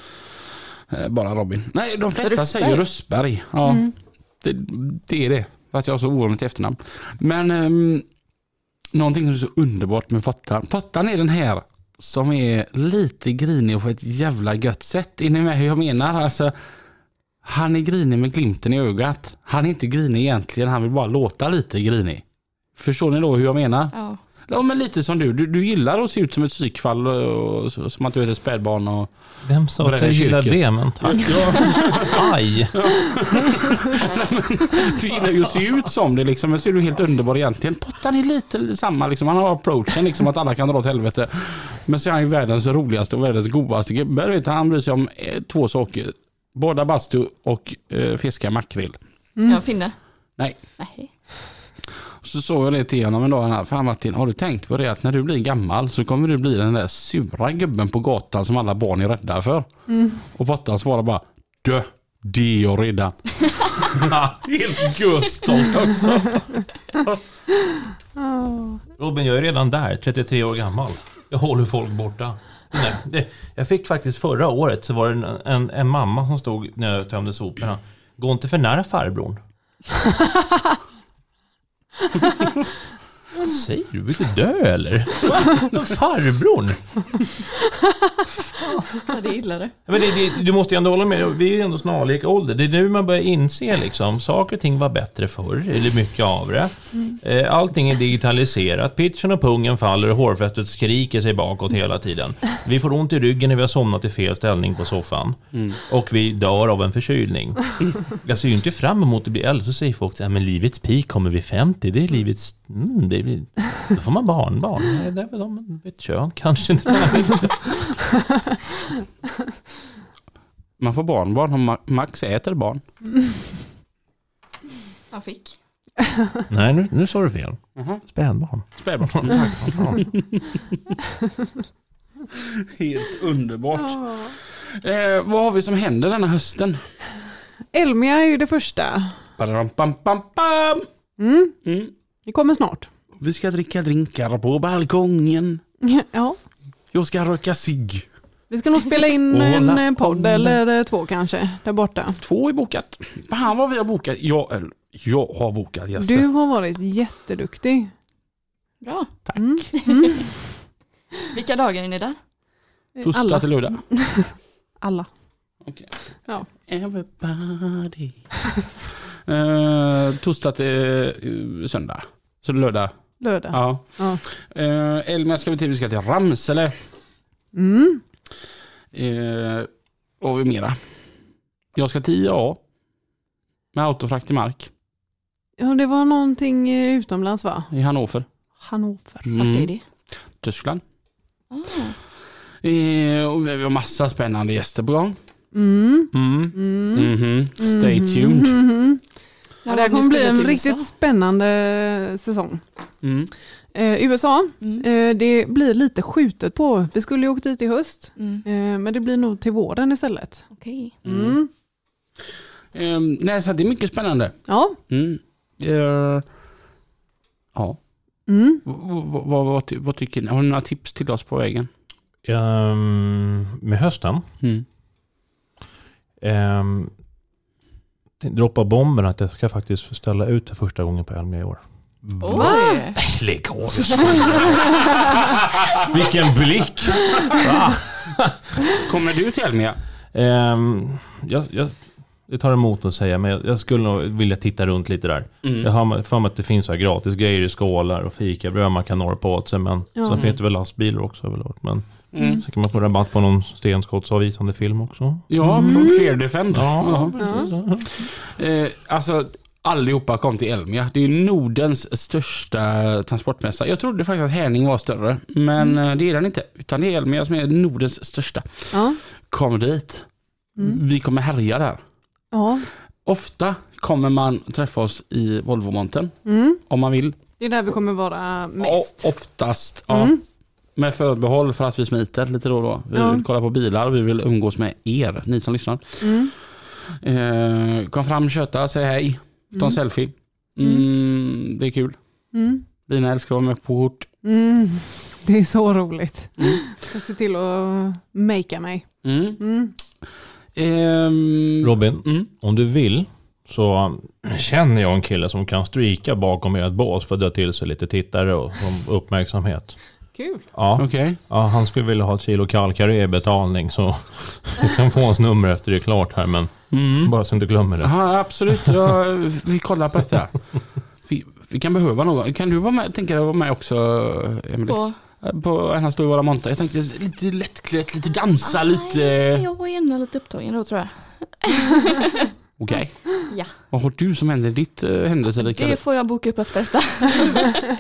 Eh, Bara Robin. Nej, de flesta Röstberg. säger Röstberg. Ja, det, det är det. För att jag har så ovanligt efternamn. Men ehm, någonting som är så underbart med Pottan. Pottan är den här som är lite grinig på ett jävla gött sätt. Är ni med hur jag menar? Alltså, han är grinig med glimten i ögat. Han är inte grinig egentligen, han vill bara låta lite grinig. Förstår ni då hur jag menar? Ja. Ja men lite som du, du, du gillar att se ut som ett psykfall och, och så- som att du är ett spädbarn och Vem sa att jag gillar det? Men tack. Aj. Du gillar ju att se ut som det liksom, men så är du helt underbar egentligen. Pottan är lite samma liksom, han har approachen liksom att alla kan dra åt helvete. Men så är han ju världens roligaste och världens godaste gubbe. Du vet, Han bryr sig om eh, två saker. Båda bastu och eh, fiska makrill. Jag finner. Nej, Mm. Nej. så såg jag det till honom en dag. han här, Fan Martin, har du tänkt på det att när du blir gammal så kommer du bli den där sura gubben på gatan som alla barn är rädda för? Och Pottan svarar bara, dö, det är jag redan. Helt gusstolt också. Ja. Robin, jag är redan där, 33 år gammal. Jag håller folk borta. Nej, det, jag fick faktiskt förra året så var det en, en, en mamma som stod när jag tömde soporna. Gå inte för nära farbrorn. Vad säger du? Vill du dö eller? Va? Farbrorn? Ja, det är illa det. Ja, Men det, det, du måste ju ändå hålla med, vi är ju ändå snarlika ålder. Det är nu man börjar inse liksom, saker och ting var bättre förr, eller mycket av det. Eh, Allting är digitaliserat, pitchen och pungen faller och hårfästet skriker sig bakåt hela tiden. Vi får ont i ryggen när vi har somnat i fel ställning på soffan. Och vi dör av en förkylning. Jag ser ju inte fram emot att bli äldre, så säger folk att men livets peak kommer vid 50, det är livets... Mm, det blir, då får man barnbarn. Nej, det är väl de, ett kön kanske inte. Man får barnbarn om Ma- Max äter barn. Han fick. Nej, nu, nu sa du fel. Mhm. Spädbarn. Spädbarn. Helt underbart. Ja. Eh, vad har vi som händer denna hösten? Elmia är ju det första. Badam, bam, bam, bam. Mm, Mm. det kommer snart. Vi ska dricka drinkar på balkongen. Ja. Jag ska röka cigg. Vi ska nog spela in Och en hålla eh, podd koll. eller eh, två kanske, där borta. Två är bokat. Fan vad vi har bokat. Jag, eller, jag har bokat gäster. Du har varit jätteduktig. Bra. Tack. Mm. Mm. Vilka dagar är ni där? Torsdag Alla. till lördag. Alla. Everybody. eh, torsdag till eh, söndag. Så lördag. Lördag. Ja. Ja. Eh, Elmer ska vi till. Vi ska till Ramsele. Mm. Eh, vad har vi mera? Jag ska till IAA. Med autofrakt i mark. Ja, det var någonting eh, utomlands va? I Hannover. Hannover. Vart är Mm, det? Tyskland. Ah, Eh, och vi har massa spännande gäster på gång. Mm. Mm. Mm. Mhm. Stay Mhm. tuned. Mhm. Ja, det när var här ni kommer bli skulle en till riktigt USA? spännande eh, säsong. Mm. Eh, USA, Mm. eh, det blir lite skjutet på. Vi skulle ju åkt dit i höst, Mm. eh, men det blir nog till våren istället. Okej. Mm. Mm. Eh, nej, så det är mycket spännande. Ja. Mm. Eh, ja. Mm. V- v- vad, vad, ty- vad tycker ni? Har ni några tips till oss på vägen? Ehm, med hösten. Mm. Um, droppa bomben att jag ska faktiskt ställa ut för första gången på Elmia i år. Oj! Lägg av, jag skojar. Vilken blick! Va? Kommer du till Elmia? Ehm, jag, jag, det tar emot att säga, men jag, jag skulle nog vilja titta runt lite där. Mm. Jag har för mig att det finns så här gratis grejer i skålar och fikabröd man kan norpa åt sig. Men Ja. sen finns det väl lastbilar också överlag. Men Mm. sen kan man få rabatt på någon stenskottsavvisande film också. Ja, från Clear Defend. Ja, precis. Eh, alltså, allihopa kom till Elmia. Det är ju Nordens största transportmässa. Jag trodde faktiskt att Härning var större, men Mm. eh, det är den inte. Utan det är Elmia som är Nordens största. Ja. Kom dit. Mm. Vi kommer härja där. ja. Ofta kommer man träffa oss i Volvo-montern Mm. om man vill. Det är där vi kommer vara mest. O- oftast, ja. Mm. Med förbehåll för att vi smiter lite då och då. Vi Ja. vill kolla på bilar och vi vill umgås med er, ni som lyssnar. Mm. Eh, kom fram, köta, säg hej, ta en Mm. selfie. Mm, det är kul. Mm. Lina älskar att vara med på kort. Mm. Det är så roligt. Mm. Jag ska se till att makea mig. Mm. Mm. Ehm, Robin, Mm. om du vill så känner jag en kille som kan stryka bakom ert bås för att dra till sig lite tittare och och uppmärksamhet. Kul. Ja, Okej. ja, han skulle vilja ha ett kilo kalkare i betalning så du kan få hans nummer efter det är klart här men Mm. bara så du inte glömmer det. Ja, absolut, jag, vi kollar på detta. Vi, vi kan behöva någon. Kan du vara med, tänker jag, vara med också, Emelie? På, På en stå i våra monter. Jag tänkte lite lättklätt, lite dansa, Ah, lite... jag var gärna lite upptagen då tror jag. Okej. Ja. Vad har du som händer i ditt eh, händelserika Det liv? får jag boka upp efter detta.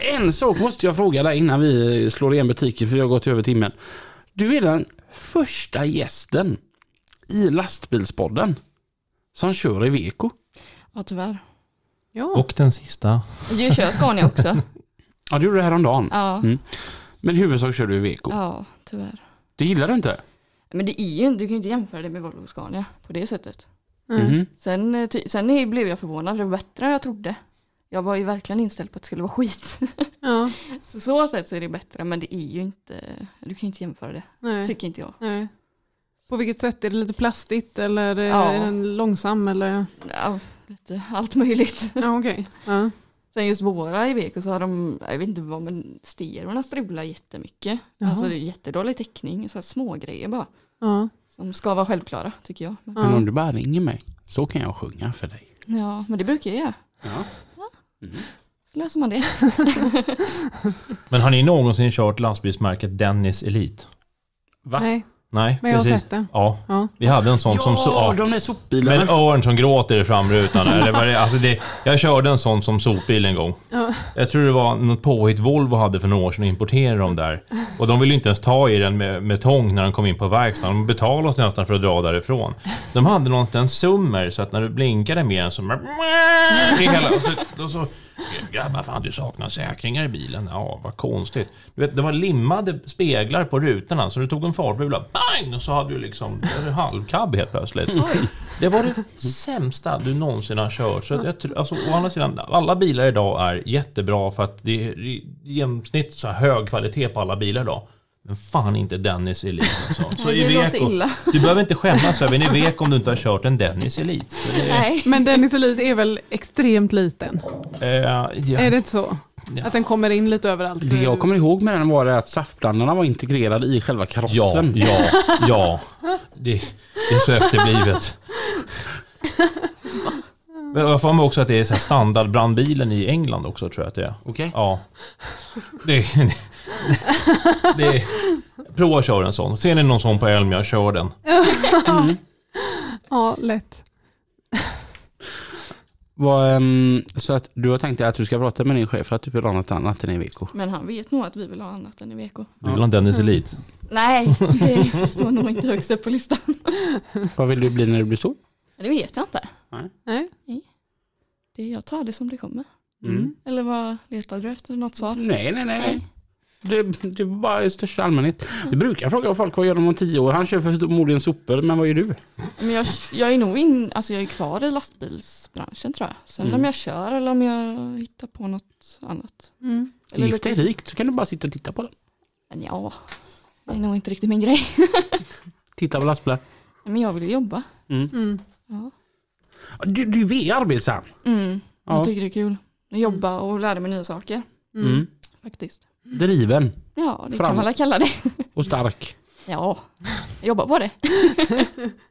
En sak måste jag fråga dig innan vi slår igen butiken för vi har gått över timmen. Du är den första gästen i lastbilspodden som kör i veko. Ja tyvärr. Ja. Och den sista. Du kör Scania också. Ja, du gjorde det häromdagen. Ja, Mm. Men i huvudsak kör du i veko. ja tyvärr. Det gillar du inte? Men det är ju, du kan ju inte jämföra det med Volvo och Scania på det sättet. Mm. Mhm. Sen, eh, ty, sen är- blev jag förvånad, det var bättre än jag trodde. jag var ju verkligen inställd på att det skulle vara skit. Ja, Så så sätt så är det bättre men det är ju inte, du kan ju inte jämföra det, nej, tycker inte jag. nej. På vilket sätt? Är det lite plastigt eller Ja. är den långsam? Eller? Ja, lite allt möjligt. Ja, okej. Ja. Sen just våra i Veko så har de, jag vet inte vad, men stereorna strular jättemycket. Jaha. Alltså det är jättedålig täckning, så här små grejer bara. Ja. Som ska vara självklara tycker jag. Men, Men Ja. om du bara ringer mig så kan jag sjunga för dig. ja, men det brukar jag göra. Ja. Så löser man det. Men har ni någonsin kört lastbilsmärket Dennis Elite? Va? Nej, Nej, men jag har precis. sett det. Ja, Ja. vi hade en sån som så... Ja, Ja, de där med en sopbilarna. örn som gråter i framrutan. Eller vad det, alltså det, jag körde en sån som sopbil en gång. Ja. Jag tror det var något påhitt Volvo hade för några år sedan och importerade dem där. Och de ville inte ens ta i den med, med tång när de kom in på verkstaden. De betalade oss nästan för att dra därifrån. De hade någonstans summer så att när du blinkade med den så... Det hela, och så, då så Grabbar, fan du saknar säkringar i bilen. Ja, vad konstigt. Du vet, det var limmade speglar på rutorna, så du tog en fartbula, bang! Och så hade du liksom en halvkabb helt plötsligt. Det var det sämsta du någonsin har kört. Så att jag, tror- alltså, å andra sidan, alla bilar idag är jättebra för att det är i genomsnitt så här hög kvalitet på alla bilar idag. Men fan inte Dennis Elite alltså. Så Nej, det låter Iveco, illa. du behöver inte skämmas över en Iveco om du inte har kört en Dennis Elite. Så det, Nej. Men Dennis Elit är väl extremt liten? eh, ja. Är det inte så? Ja. Att den kommer in lite överallt? Det jag kommer ihåg med den var det att saftblandarna var integrerade i själva Ja, karossen. ja, ja. Det, det är så efterblivet. Men jag får mig också att det är så här standardbrandbilen i England också tror jag att det är. Okej. Ja. Det, det, det, prova att köra en sån. Ser ni någon sån på Elmia, kör den. Ja, lätt. Vad, ehm, Så att du har tänkt dig att du ska prata med din chef för att du vill ha något annat än Iveco. Men han vet nog att vi vill ha annat än Iveco. Du vill ha en Dennis Elite? Nej, det står nog inte högst upp på listan. Vad vill du bli när du blir stor? Det vet jag inte. Nej. Det, jag tar det som det kommer. Mm. Eller vad letar du efter? Något svar? Nej, nej, nej. nej. Nej. Det, det var bara i största allmänhet. Vi brukar fråga folk vad gör de om tio år. Han kör förmodligen sopor, men vad gör du? Men jag, jag är nog in, alltså jag är kvar i lastbilsbranschen tror jag. Sen Mm. om jag kör eller om jag hittar på något annat. Mm. Eller Gift dig rikt så kan du bara sitta och titta på den. Men ja, det är nog inte riktigt min grej. Titta på lastbilar. Men jag vill ju jobba. Mm. Ja. Du, du är arbetsam. Mm. Ja. Jag tycker det är kul. Jobba och lära mig nya saker Mm. Mm. faktiskt. Driven Ja, det Framåt. kan man väl kalla det. och stark. Ja, jag jobbar på det.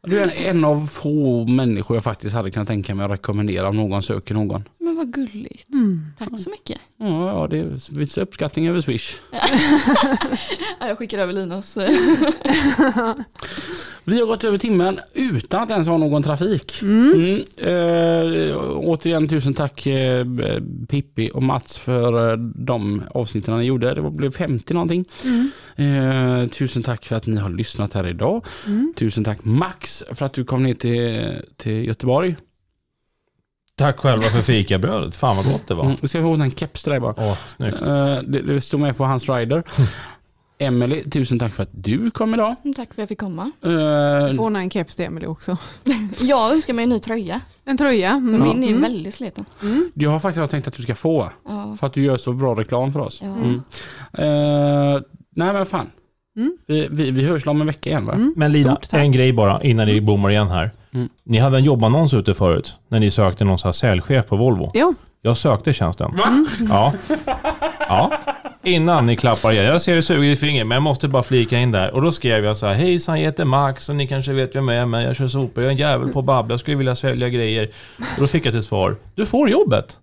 Du är en av få människor jag faktiskt hade kunnat tänka mig att rekommendera om någon söker någon. Men vad gulligt. Mm. Tack så mycket. Ja, ja det är vissa uppskattning över Swish. Ja, Jag skickar över Linas. eh, Vi har gått över timmen utan att ens ha någon trafik. Mm. Eh, återigen tusen tack eh, Pippi och Mats för eh, de avsnitten ni gjorde. Det var- blev 50 någonting. Mm. Eh, tusen tack för att ni har lyssnat här idag. Mm. Tusen tack Max för att du kom ner till, till Göteborg. Tack själva för fikabrödet. Fan vad gott det var. Mm. Ska vi få en keps till dig bara? Åh, snyggt. Eh, det, det står med på hans rider. Emily, tusen tack för att du kom idag. Tack för att jag fick komma. Eh, Får ordna en keps till Emelie också. Jag önskar mig en ny tröja. En tröja. För Mm. min är ju Mm. väldigt sliten. Mm. jag har faktiskt tänkt att du ska få, Ja. för att du gör så bra reklam för oss. Ja. Mm. Eh, nej men fan. Mm. Vi, vi, vi hörs om en vecka igen va? Mm. Men Lina, Stort tack. en grej bara innan ni bommar igen här. Mm. Ni hade en jobbannons ute förut när ni sökte någon så här säljchef på Volvo. Jo. Jag sökte tjänsten. Ja. ja. Innan ni klappar igen. Jag ser det suger i fingret, men jag måste bara flika in där. Och då skrev jag så här. Hejsan, jag heter Max och ni kanske vet vem jag är, men jag kör sopor. Jag är en jävel på att babbla. Jag skulle vilja sälja grejer. Och då fick jag till svar. Du får jobbet.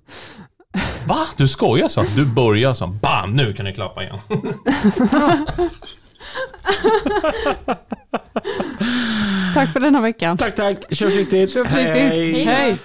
Va? Du skojar, så Du börjar, så Bam, nu kan ni klappa igen. Tack för denna veckan. Tack tack, kör försiktigt. Kör försiktigt. Hej. Hej.